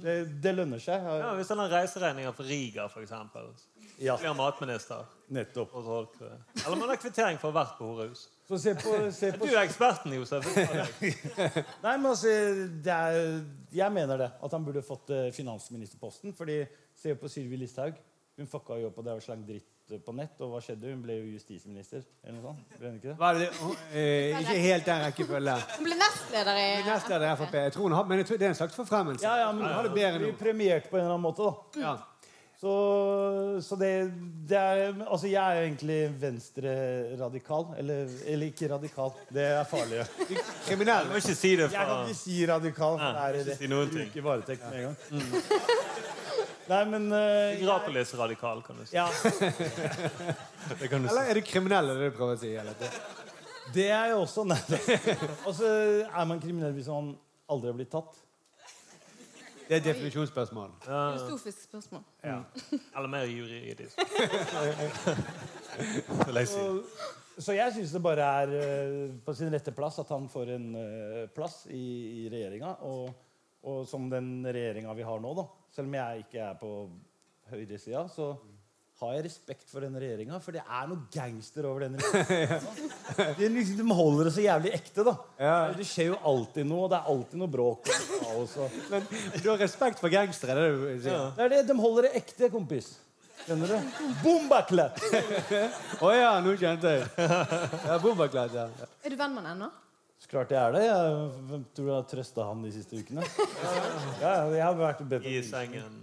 [SPEAKER 13] Det, det lønner seg.
[SPEAKER 1] Ja, hvis han har reiseregninger for Riga, f.eks. Ja. Blir han matminister.
[SPEAKER 13] Nettopp.
[SPEAKER 1] Og så holdt det. Eller man har kvittering for hvert behorehus.
[SPEAKER 13] Så se på- se på-
[SPEAKER 1] Du er eksperten, Josef.
[SPEAKER 13] Nei, men altså, det er, Jeg mener det. At han burde fått eh, finansministerposten. fordi se på Sylvi Listhaug. Hun fucka jo opp og drev og slang dritt eh, på nett. Og hva skjedde? Hun ble jo justisminister. eller noe sånt. Ble hun ikke det?
[SPEAKER 2] Hva er det? Hun- eh, ikke helt den rekkefølgen.
[SPEAKER 19] Hun ble nestleder i
[SPEAKER 2] Nestleder i Frp. Jeg tror hun har, men jeg tror det er en slags forfremmelse.
[SPEAKER 13] Ja, ja, men
[SPEAKER 2] Hun har
[SPEAKER 13] han
[SPEAKER 2] det bedre
[SPEAKER 13] blir
[SPEAKER 2] nå.
[SPEAKER 13] premiert på en eller annen måte, da. Så, så det, det er Altså, jeg er jo egentlig venstre-radikal. Eller, eller ikke radikal. Det er farligere.
[SPEAKER 2] Kriminell.
[SPEAKER 1] Du må ikke si det fra-
[SPEAKER 13] Jeg kan ikke si radikal.
[SPEAKER 1] Nei,
[SPEAKER 13] For det er
[SPEAKER 1] ikke
[SPEAKER 13] rett
[SPEAKER 1] si noen
[SPEAKER 13] bruk
[SPEAKER 1] ting.
[SPEAKER 13] i varetekt med en gang. Nei, men eh,
[SPEAKER 1] Grapelis-radikal, kan du si.
[SPEAKER 13] Ja.
[SPEAKER 1] Det kan du
[SPEAKER 2] Eller
[SPEAKER 1] si.
[SPEAKER 2] er du kriminell, er det du prøver å si? Eller?
[SPEAKER 13] Det er jo også (laughs) Nei. Og så er man kriminell hvis man aldri har blitt tatt.
[SPEAKER 2] Det er et definisjonsspørsmål.
[SPEAKER 19] Filosofisk spørsmål.
[SPEAKER 1] Ja. Eller mer juridisk. Vil jeg si.
[SPEAKER 13] Og- Så jeg syns det bare er eh, på sin rette plass at han får en eh, plass i, i regjeringa. Og, og som den regjeringa vi har nå, da. Selv om jeg ikke er på høyresida, så har jeg respekt for den regjeringa. For det er noe gangster over den regjeringa. De, liksom, de holder det så jævlig ekte, da. Det skjer jo alltid noe, og det er alltid noe bråk. Og kaos, og...
[SPEAKER 2] Men du har respekt for gangstere? Det er det du sier.
[SPEAKER 13] Ja. Det er det, de holder det ekte, kompis. Skjønner du? Bombaklatt!
[SPEAKER 2] Å ja, nå kjente jeg. Ja, Bombaklatt, ja.
[SPEAKER 19] Er du venn med henne ennå?
[SPEAKER 13] Så klart jeg er det. Jeg, hvem tror du har trøsta han de siste ukene? Ja, jeg har vært bedt om
[SPEAKER 1] I sengen.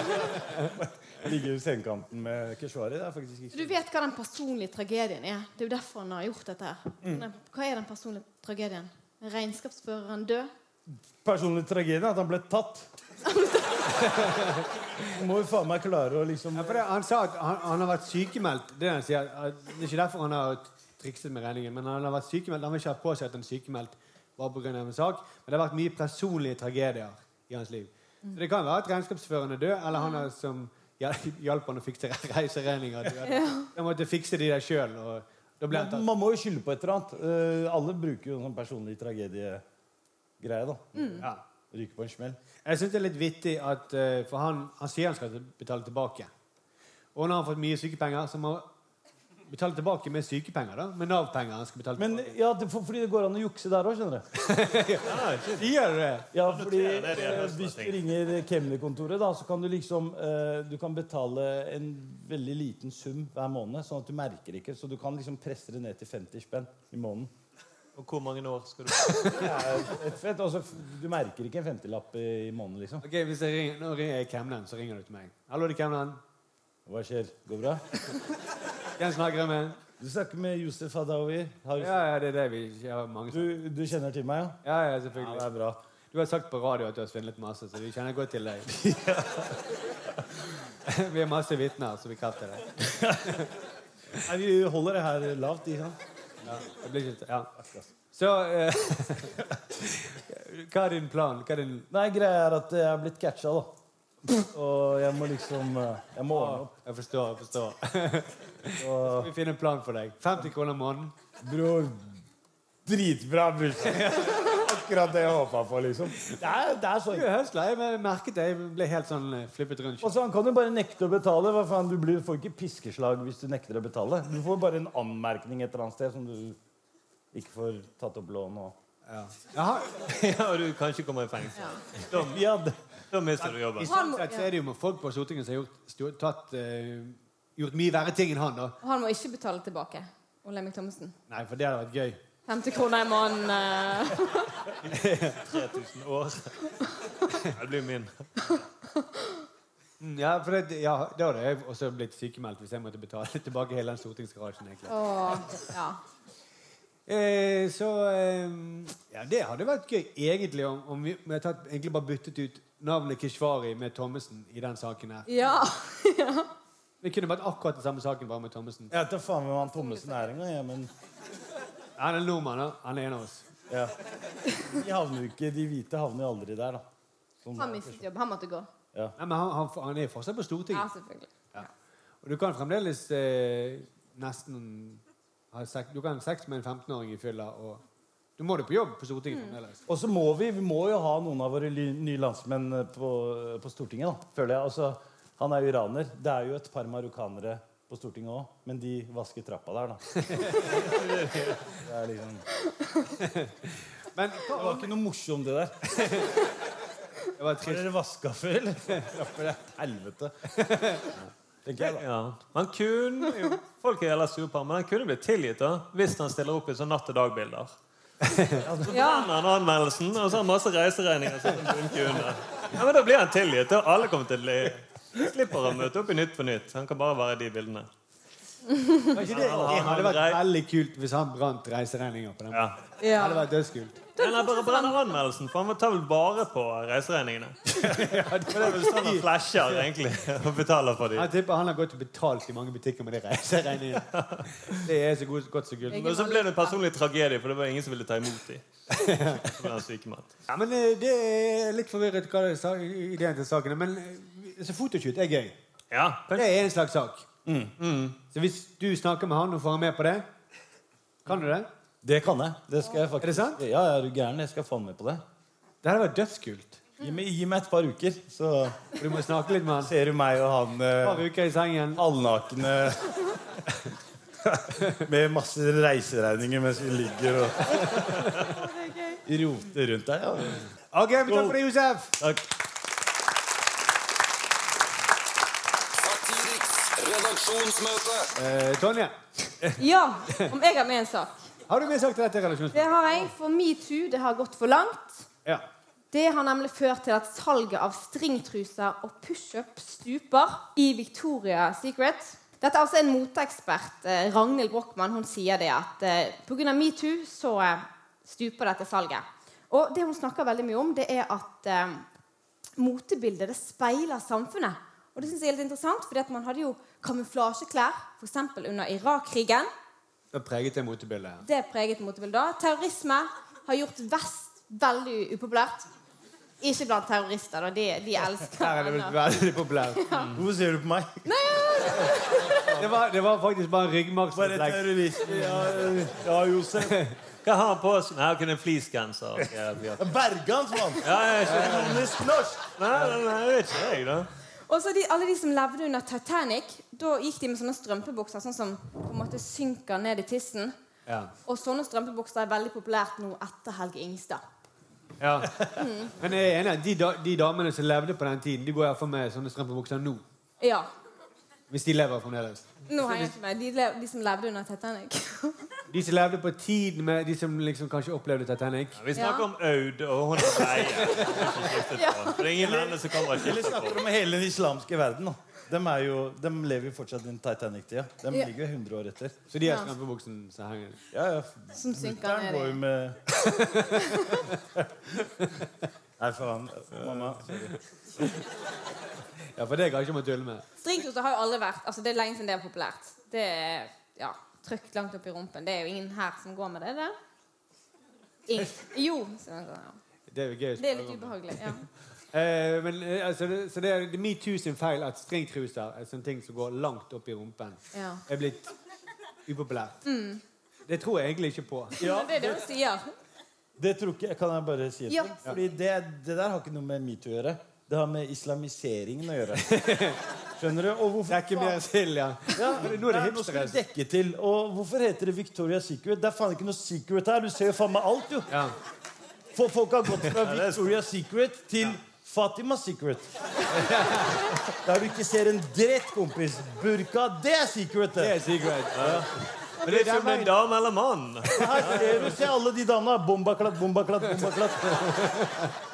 [SPEAKER 13] (laughs) Ligge i sengekanten med Keshvari. Det er faktisk
[SPEAKER 19] Du
[SPEAKER 13] ikke
[SPEAKER 19] vet hva den personlige tragedien er. Det er jo derfor han har gjort dette. her. Nei, Hva er den personlige tragedien? Regnskapsføreren død?
[SPEAKER 13] Personlig tragedie er at han ble tatt. Må jo faen meg klare å liksom
[SPEAKER 2] Ja, for det, han sa at han, han har vært sykemeldt. Det, er det han sier, at det er ikke derfor han har trikset med regningen. Men han har vært sykemeldt. Han vil ikke ha på seg at han er sykemeldt bare på grunn av en sak. Men det har vært mye personlige tragedier i hans liv. Så det kan være at regnskapsføreren er død, eller han er som hjel- hjalp han å fikse re- reiseregninger. til
[SPEAKER 19] Ja.
[SPEAKER 2] at Han måtte fikse de der sjøl. Da ble han tatt.
[SPEAKER 13] Men Man må jo skylde på et eller annet. Eh, alle bruker jo en sånn personlig tragedie-greie, da.
[SPEAKER 19] Mm.
[SPEAKER 2] Ja.
[SPEAKER 13] Ryker på en smell.
[SPEAKER 2] Jeg syns det er litt vittig at eh, For han, han sier han skal betale tilbake. Og når han har fått mye sykepenger, så må han betale tilbake med sykepenger. da Med Nav-penger. han skal betale tilbake
[SPEAKER 13] Men ja, det, for, fordi det går an å jukse der òg, skjønner du.
[SPEAKER 2] Sier du det?
[SPEAKER 13] Ja, fordi
[SPEAKER 2] noterer det, det er
[SPEAKER 13] eh,
[SPEAKER 2] første
[SPEAKER 13] Hvis du
[SPEAKER 2] ting.
[SPEAKER 13] ringer kemnerkontoret, da, så kan du liksom eh, Du kan betale en veldig liten sum hver måned, sånn at du merker ikke. Så du kan liksom presse det ned til 50 spenn i måneden.
[SPEAKER 1] Og hvor mange år
[SPEAKER 13] (laughs)
[SPEAKER 1] skal du
[SPEAKER 13] Det er et fett, altså, Du merker ikke en 50-lapp i i måneden, liksom.
[SPEAKER 2] Ok, hvis jeg ringer, Nå ringer jeg kemneren, så ringer du til meg. Hallo, det er kemneren.
[SPEAKER 13] Hva skjer? Går det bra?
[SPEAKER 2] Hvem snakker jeg med?
[SPEAKER 13] Du snakker med Josef Hadaoui. Har
[SPEAKER 2] Ja, ja, det er det vi jeg har mange
[SPEAKER 13] Du, du kjenner til meg,
[SPEAKER 2] ja? Ja, ja, selvfølgelig.
[SPEAKER 13] Ja, det er bra.
[SPEAKER 2] Du har sagt på radio at du har svindlet masse, så vi kjenner godt til
[SPEAKER 13] (laughs)
[SPEAKER 2] deg. (laughs) vi har masse vitner som bekrefter det.
[SPEAKER 13] Nei, vi holder det her lavt. Ikke sant?
[SPEAKER 2] Ja, det blir ikke, ja. Så eh, (laughs) Hva er din plan? Hva er din
[SPEAKER 13] Nei, greia er at jeg er blitt catcha, da. Og jeg må liksom eh, Jeg må ordne opp.
[SPEAKER 2] Jeg forstår, (laughs) jeg forstår. Skal vi finne en plan for deg? 50 kroner måneden?
[SPEAKER 13] Bror, dritbra Akkurat det jeg håpa på, liksom. Det er, det er
[SPEAKER 2] Du
[SPEAKER 13] sånn.
[SPEAKER 2] er høsla. Jeg merket det. Jeg ble helt sånn eh, flippet rundt.
[SPEAKER 13] Og så Han kan jo bare nekte å betale. Hva faen, Du blir, får ikke piskeslag hvis du nekter å betale. Du får bare en anmerkning et eller annet sted som du ikke får tatt opp lån og
[SPEAKER 2] Ja. (laughs)
[SPEAKER 1] ja, og du kan ikke komme i fengsel. Da, da mister du
[SPEAKER 2] I
[SPEAKER 1] jobben.
[SPEAKER 2] sånn sett så er det jo med folk på Stortinget som har gjort, sto- tatt, eh, gjort mye verre ting enn han. da.
[SPEAKER 19] Og han må ikke betale tilbake. Olemic Thommessen.
[SPEAKER 2] Nei, for det hadde vært gøy.
[SPEAKER 19] 50 kroner i måneden. eh.
[SPEAKER 1] 3000 år. Ja, Det blir min.
[SPEAKER 2] Mm, Ja, for det, ja, Da hadde jeg også blitt sykemeldt hvis jeg måtte betale (laughs) tilbake hele den stortingsgarasjen. egentlig.
[SPEAKER 19] Åh, ja.
[SPEAKER 2] Eh, så eh, Ja, det hadde vært gøy egentlig om, om vi om jeg hadde tatt, egentlig bare byttet ut navnet Keshvari med Thommessen i den saken her.
[SPEAKER 19] ja.
[SPEAKER 2] Det kunne vært akkurat den samme saken, bare med Thommessen.
[SPEAKER 13] Jeg vet da faen hvem han Thommessen er engang, jeg, men
[SPEAKER 2] Han er nordmann, da. han er en av oss.
[SPEAKER 13] ja. De havner jo ikke, de hvite havner jo aldri der, da. Sånn,
[SPEAKER 19] Han mistet jobb. Han måtte gå.
[SPEAKER 2] Nei, men han, han, han er fortsatt på Stortinget.
[SPEAKER 19] Ja, selvfølgelig.
[SPEAKER 2] Og du kan fremdeles eh, nesten ha sex, Du kan ha sex med en 15-åring i fylla, og Du må jo på jobb på Stortinget fremdeles.
[SPEAKER 13] Og så må vi, vi må jo ha noen av våre li- nye landsmenn eh, på, på Stortinget, da, føler jeg. Altså, han er jo iraner. Det er jo et par marokkanere på Stortinget òg, men de vasker trappa der, da. Det er liksom Det var ikke noe morsomt, det der. Har dere vaska før, eller? Trapper det er helvete. Tenker jeg, da.
[SPEAKER 1] Ja. Han kunne jo, Folk er jævla sure på ham, men han kunne blitt tilgitt da, hvis han stiller opp i sånn natt-og-dag-bilder. Så
[SPEAKER 5] Ja.
[SPEAKER 1] brenner Altså, han anmeldelsen, og så har han masse reiseregninger. som han bunker under. Ja, men Da blir han tilgitt. og alle kommer til å le. Slipper å møte opp i Nytt på Nytt. Han kan bare være i de bildene.
[SPEAKER 2] Var ikke Det, det hadde vært veldig kult hvis han brant reiseregninger på den.
[SPEAKER 1] Ja.
[SPEAKER 2] Det hadde vært dødskult.
[SPEAKER 1] Eller bare brenner anmeldelsen, for han tar vel bare på reiseregningene. det er vel sånn han flasher, egentlig, og betaler for dem.
[SPEAKER 2] Jeg tipper han har gått og betalt i mange butikker med de (laughs) reiseregningene. Det er så godt, godt så gull.
[SPEAKER 1] Og så ble det en personlig tragedie, for det var ingen som ville ta imot dem. Så ble han sykemeldt.
[SPEAKER 2] Ja, men eh, Det er litt forvirret hva det er sa- ideen til saken er. Men eh, så fotoshoot er gøy. det er en slags sak.
[SPEAKER 13] Mm,
[SPEAKER 2] Så hvis du snakker med han og får han med på det Kan du det?
[SPEAKER 13] Det kan jeg. Det skal jeg faktisk.
[SPEAKER 2] Er det sant?
[SPEAKER 13] Ja, ja, er du gæren? Jeg skal faen meg på det.
[SPEAKER 2] Det hadde vært dødskult.
[SPEAKER 13] Gi meg, gi meg et par uker, så
[SPEAKER 2] Du må snakke litt med han.
[SPEAKER 13] Ser du meg og han eh,
[SPEAKER 2] Par uker i sengen.
[SPEAKER 13] halvnakne med masse reiseregninger mens vi ligger og roter rundt der. Ja.
[SPEAKER 2] OK, vi tar for deg, Josef.
[SPEAKER 13] Takk.
[SPEAKER 9] Redaksjonsmøte.
[SPEAKER 2] Eh, Tonje,
[SPEAKER 19] Ja, (laughs) om jeg har med en sak.
[SPEAKER 2] har du med sagt dette i relasjonsmøtet?
[SPEAKER 19] Det har jeg, for metoo det har gått for langt.
[SPEAKER 2] Ja.
[SPEAKER 19] Det har nemlig ført til at salget av stringtruser og pushup stuper i Victoria Secret. Dette er altså en moteekspert, eh, Ragnhild Brochmann, hun sier det at eh, pga. metoo så eh, stuper dette salget. Og det hun snakker veldig mye om, det er at eh, motebildet det speiler samfunnet. Og det synes jeg er litt interessant, fordi at man hadde jo kamuflasjeklær, f.eks. under Irak-krigen.
[SPEAKER 2] Det har preget det motebildet. her.
[SPEAKER 19] Det er preget motebildet da. Terrorisme har gjort vest veldig upopulært. Ikke blant terrorister, da. De, de elsker
[SPEAKER 2] Her er det vel veldig populært.
[SPEAKER 13] Hvorfor ser du på meg?
[SPEAKER 2] Det var, det var faktisk bare en ryggmargsrefleks.
[SPEAKER 13] Ja, Josef.
[SPEAKER 1] Hva har han på seg? Nei, Kun en fleecegenser. Ok, jeg blir-
[SPEAKER 13] Bergans, mann!
[SPEAKER 1] Ja, jeg skjønner.
[SPEAKER 13] Kronisk norsk!
[SPEAKER 1] Nei, nei, nei, det vet ikke jeg, da.
[SPEAKER 19] Og så de, alle de som levde under Titanic, da gikk de med sånne strømpebukser sånn som på en måte synker ned i tissen.
[SPEAKER 2] Ja.
[SPEAKER 19] Og sånne strømpebukser er veldig populært nå etter Helge Ingstad.
[SPEAKER 2] Ja. Men jeg er enig, de, da, de damene som levde på den tiden, de går iallfall med sånne strømpebukser nå.
[SPEAKER 19] Ja.
[SPEAKER 2] Hvis de lever fremdeles.
[SPEAKER 19] Nå henger jeg ikke med. De, le- de som levde under Titanic.
[SPEAKER 2] De som levde på tiden med de som liksom kanskje opplevde Titanic.
[SPEAKER 1] Vi snakker om Aud, og hun er leie. Det er ingen andre som kommer og
[SPEAKER 13] Eller
[SPEAKER 1] skifter
[SPEAKER 13] snakker
[SPEAKER 1] på.
[SPEAKER 13] om hele den islamske verden. da. De, er jo, de lever jo fortsatt i Titanic-tida. De
[SPEAKER 19] Ja.
[SPEAKER 13] ligger jo 100 år etter.
[SPEAKER 2] Så de har
[SPEAKER 19] Ja.
[SPEAKER 2] strømpebuksen som henger
[SPEAKER 13] Ja, ja.
[SPEAKER 19] Som synker
[SPEAKER 13] Mutter'n
[SPEAKER 19] ned
[SPEAKER 13] går jo
[SPEAKER 19] i
[SPEAKER 13] med
[SPEAKER 19] (laughs)
[SPEAKER 13] Nei, faen. Mamma.
[SPEAKER 2] Ja, for det kan jeg ikke man tulle med.
[SPEAKER 19] Stringtruser har jo aldri vært altså Det er lenge siden det er populært. Det er ja, trykt langt opp i rumpen. Det er jo ingen her som går med det. er det? Ingen. Jo. Så, ja.
[SPEAKER 2] Det er jo gøy. å
[SPEAKER 19] Det er
[SPEAKER 2] spørre
[SPEAKER 19] litt
[SPEAKER 2] om.
[SPEAKER 19] ubehagelig. Ja.
[SPEAKER 2] Eh, men, eh, altså, det, så det er det er metoo sin feil at stringtruser er sånne ting som går langt opp i rumpen,
[SPEAKER 19] Ja.
[SPEAKER 2] er blitt upopulært.
[SPEAKER 19] Mm.
[SPEAKER 2] Det tror jeg egentlig ikke på.
[SPEAKER 19] Men Det er det hun sier.
[SPEAKER 13] Det tror ikke jeg. Kan jeg bare si det?
[SPEAKER 19] Ja.
[SPEAKER 13] Fordi det, det der har ikke noe med metoo å gjøre. Det har med islamiseringen å
[SPEAKER 19] (laughs)
[SPEAKER 13] gjøre. Skjønner du? Og hvorfor
[SPEAKER 2] Det er ikke mer til, ja.
[SPEAKER 13] Ja,
[SPEAKER 2] Nå er det altså.
[SPEAKER 13] nei, nå skal
[SPEAKER 2] hipstere.
[SPEAKER 13] vi dekke til. Og hvorfor heter det Victoria Secret? Det er faen ikke noe secret her. Du ser jo faen meg alt, jo.
[SPEAKER 2] Ja.
[SPEAKER 13] For folk har gått
[SPEAKER 19] (laughs)
[SPEAKER 13] fra Victoria Secret til Fatima Secret. (laughs) Der du ikke ser en dritt, kompis. Burka, det er secret,
[SPEAKER 2] Det
[SPEAKER 13] det.
[SPEAKER 2] er secret.
[SPEAKER 1] Men det er ikke om det er en dame eller
[SPEAKER 13] (laughs)
[SPEAKER 1] mann.
[SPEAKER 13] Her ser du se alle de damene. Bombaklatt, bombaklatt, bombaklatt. (laughs)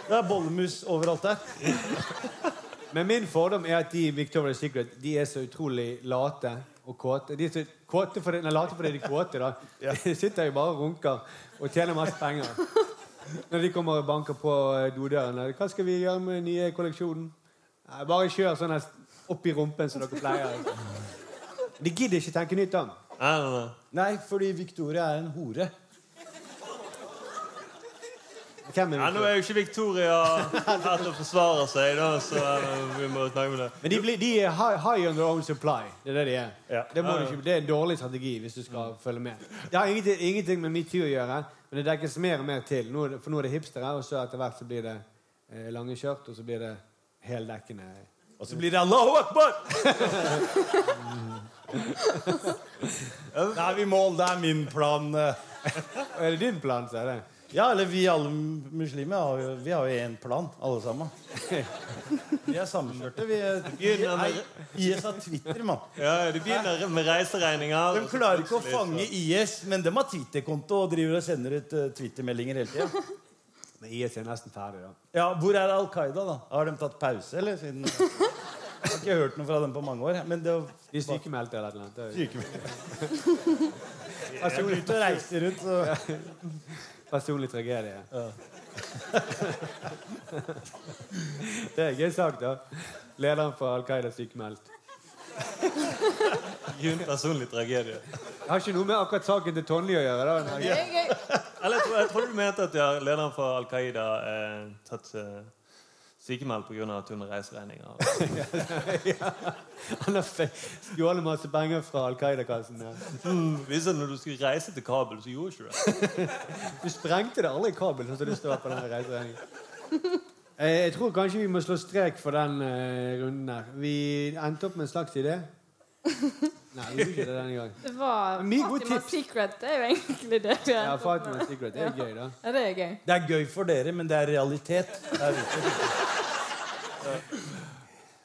[SPEAKER 13] Det er bollemus overalt der.
[SPEAKER 2] Men min fordom er at de i Victoria's Secret de er så utrolig late og kåte. De er så kåte fordi, nei, late fordi de er kåte.
[SPEAKER 1] (laughs)
[SPEAKER 2] da. De sitter jo bare og runker og tjener masse penger. Når de kommer og banker på eh, dodøren er det, 'Hva skal vi gjøre med den nye kolleksjonen?' Nei, 'Bare kjør sånn her opp i rumpen som dere pleier.' De gidder ikke tenke nytt om.
[SPEAKER 1] Nei, nei, nei.
[SPEAKER 13] Nei, fordi Victoria er en hore.
[SPEAKER 2] Hvem er
[SPEAKER 20] Ja, nå er jo ikke Victoria her til å forsvare seg, da, så eh, vi må snakke med det.
[SPEAKER 2] Men de, blir, de er high, high on their own supply. Det er det de er. Det, må
[SPEAKER 20] Ja,
[SPEAKER 2] du
[SPEAKER 20] ja.
[SPEAKER 2] ikke, det er en dårlig strategi hvis du skal følge med. Det har ingenting, ingenting med metoo å gjøre, men det dekkes mer og mer til. Nå, er det- for nå er det hipstere, og så etter hvert så blir det eh, lange skjørt, og så blir det heldekkende. Og så blir det Allahu
[SPEAKER 20] (laughs)
[SPEAKER 13] (laughs)
[SPEAKER 2] akbar!
[SPEAKER 13] Da er vi i mål. Det er min plan. eh.
[SPEAKER 2] er det din plan, så er det?
[SPEAKER 13] Ja, eller vi alle muslimer har jo, vi har jo én plan, alle
[SPEAKER 20] (laughs)
[SPEAKER 13] sammen. Vi er sammenkjørte. Vi er,
[SPEAKER 20] Begynner med-
[SPEAKER 13] Nei, IS har Twitter, mann.
[SPEAKER 20] Ja, det begynner med reiseregninger.
[SPEAKER 13] De klarer ikke å fange IS, men de har Twitter-konto og driver og sender ut eh, Twitter-meldinger hele tida.
[SPEAKER 2] Men IS er nesten ferdig, da.
[SPEAKER 13] Ja, hvor er Al Qaida, da? Har de tatt pause, eller? Siden jeg har ikke hørt noe fra dem på mange år. Men det
[SPEAKER 2] De er sykemeldte eller noe. det er jo-
[SPEAKER 20] (laughs)
[SPEAKER 13] Altså, jeg er ute og reiser rundt, så
[SPEAKER 2] Personlig tragedie. (laughs) det er en gøy sak, da. Lederen for Al Qaida sykemeldt.
[SPEAKER 20] Kun personlig tragedie.
[SPEAKER 2] Jeg har ikke noe med akkurat saken til Tonje å gjøre. da.
[SPEAKER 20] Eller jeg tror, jeg tror du mente at ja, lederen for Al Qaida eh, tatt eh, sykemeldt pga. at hun har (laughs) reiseregninger.
[SPEAKER 2] Han har fe- stjålet masse penger fra Al Qaida-kassen. ja.
[SPEAKER 20] Mm, visste du når du skulle reise til Kabul, så gjorde du ikke det.
[SPEAKER 2] Du sprengte det aldri i kabel, sånn som det står på denne reiseregningen. Eh, Jeg tror kanskje vi må slå strek for den eh, runden her. Vi endte opp med en slags idé. Nei, vi gjorde ikke det denne gangen.
[SPEAKER 5] Det var
[SPEAKER 2] Mye gode
[SPEAKER 5] Fatima's Secret. Det er jo egentlig det. vi
[SPEAKER 2] Ja,
[SPEAKER 5] har endt opp med.
[SPEAKER 2] Fatima's Secret. Det er gøy, da.
[SPEAKER 5] Ja, det er gøy.
[SPEAKER 13] det er gøy for dere, men det er realitet. Der ute.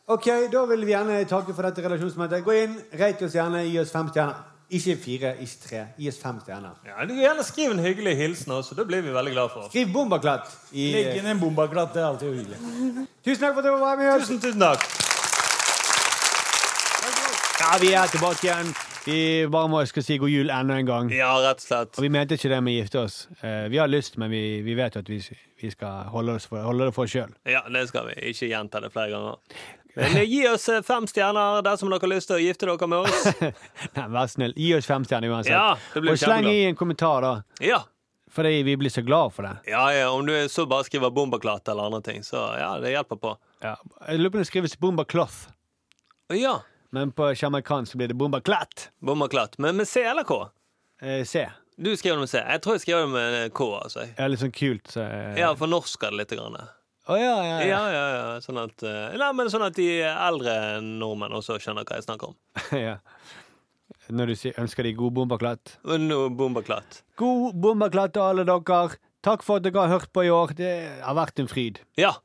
[SPEAKER 2] Ok, Da vil vi gjerne takke for dette relasjonsmøtet. Gå inn, rate oss gjerne, gi oss fem stjerner. Ikke fire, ikke tre. Gi oss fem stjerner.
[SPEAKER 20] Ja, du kan gjerne skrive en hyggelig hilsen også. Det blir vi veldig glad for.
[SPEAKER 2] Skriv 'bombaklatt'. i- eh,
[SPEAKER 13] Legg inn en bombaklatt. Det er alltid hyggelig.
[SPEAKER 2] Tusen takk for at du var med oss.
[SPEAKER 20] Tusen, tusen takk.
[SPEAKER 2] Ja, Vi er tilbake igjen. Vi bare må skal si god jul enda en gang.
[SPEAKER 1] Ja, rett og slett.
[SPEAKER 2] Og vi mente ikke det med å gifte oss. Eh, vi har lyst, men vi, vi vet jo at vi, vi skal holde, oss for, holde det for oss sjøl.
[SPEAKER 1] Ja, det skal vi. Ikke gjenta det flere ganger. Men eh, gi oss eh, fem stjerner dersom dere har lyst til å gifte dere med oss.
[SPEAKER 2] (laughs) Nei, Vær snill, gi oss fem stjerner uansett.
[SPEAKER 1] Ja, det blir
[SPEAKER 2] og sleng
[SPEAKER 1] kjempeglad.
[SPEAKER 2] i en kommentar, da.
[SPEAKER 1] (laughs) Ja.
[SPEAKER 2] Fordi vi blir så glad for det.
[SPEAKER 1] Ja, ja, Om du så bare skriver 'bombaklatt' eller andre ting, så ja, det hjelper på.
[SPEAKER 2] Ja. Jeg lurer på om det skrives 'bomba cloth'.
[SPEAKER 1] Ja,
[SPEAKER 2] Men på sjamarkansk blir det 'bomba klatt'.
[SPEAKER 1] bombaklatt. Men med C eller K?
[SPEAKER 2] Eh, C.
[SPEAKER 1] Du skriver det med C. Jeg tror jeg skriver det med eh, K. altså.
[SPEAKER 2] Det er litt sånn kult. Så, eh.
[SPEAKER 1] Ja, fornorsker det litt. Grann.
[SPEAKER 2] Å, ja, ja,
[SPEAKER 1] Ja,
[SPEAKER 2] ja.
[SPEAKER 1] ja, ja. Sånn at, eh, nei, men sånn at de eldre nordmenn også skjønner hva jeg snakker om.
[SPEAKER 2] (laughs) ja. Når du sier, ønsker de god bomba klatt.
[SPEAKER 1] Men nå, Bombaklatt.
[SPEAKER 2] God bombaklatt til alle dere. Takk for at dere har hørt på i år. Det har vært en fryd.
[SPEAKER 1] Ja.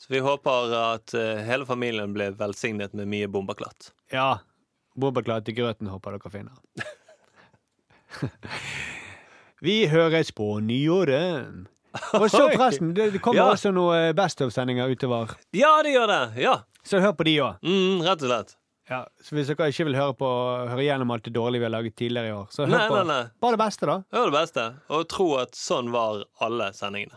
[SPEAKER 1] Så vi håper at eh, hele familien blir velsignet med mye bombaklatt.
[SPEAKER 2] Ja. Bombaklatt i grøten håper dere finner. (laughs) Vi høres på nyåret. Og så
[SPEAKER 1] Oi.
[SPEAKER 2] forresten, det det kommer
[SPEAKER 1] Ja.
[SPEAKER 2] også noen Best of-sendinger utover.
[SPEAKER 1] Ja, det gjør det! Ja.
[SPEAKER 2] Så hør på de òg.
[SPEAKER 1] Mm, rett og slett.
[SPEAKER 2] Ja, så hvis dere ikke vil høre, på, høre gjennom alt det dårlige vi har laget tidligere i år, så hør
[SPEAKER 1] Nei,
[SPEAKER 2] på
[SPEAKER 1] nei, nei.
[SPEAKER 2] bare det beste, da.
[SPEAKER 1] Hør det beste, og tro at sånn var alle sendingene.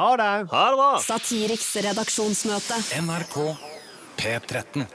[SPEAKER 2] Ha det!
[SPEAKER 1] Ha det bra!
[SPEAKER 19] Satiriks redaksjonsmøte.
[SPEAKER 9] NRK P13.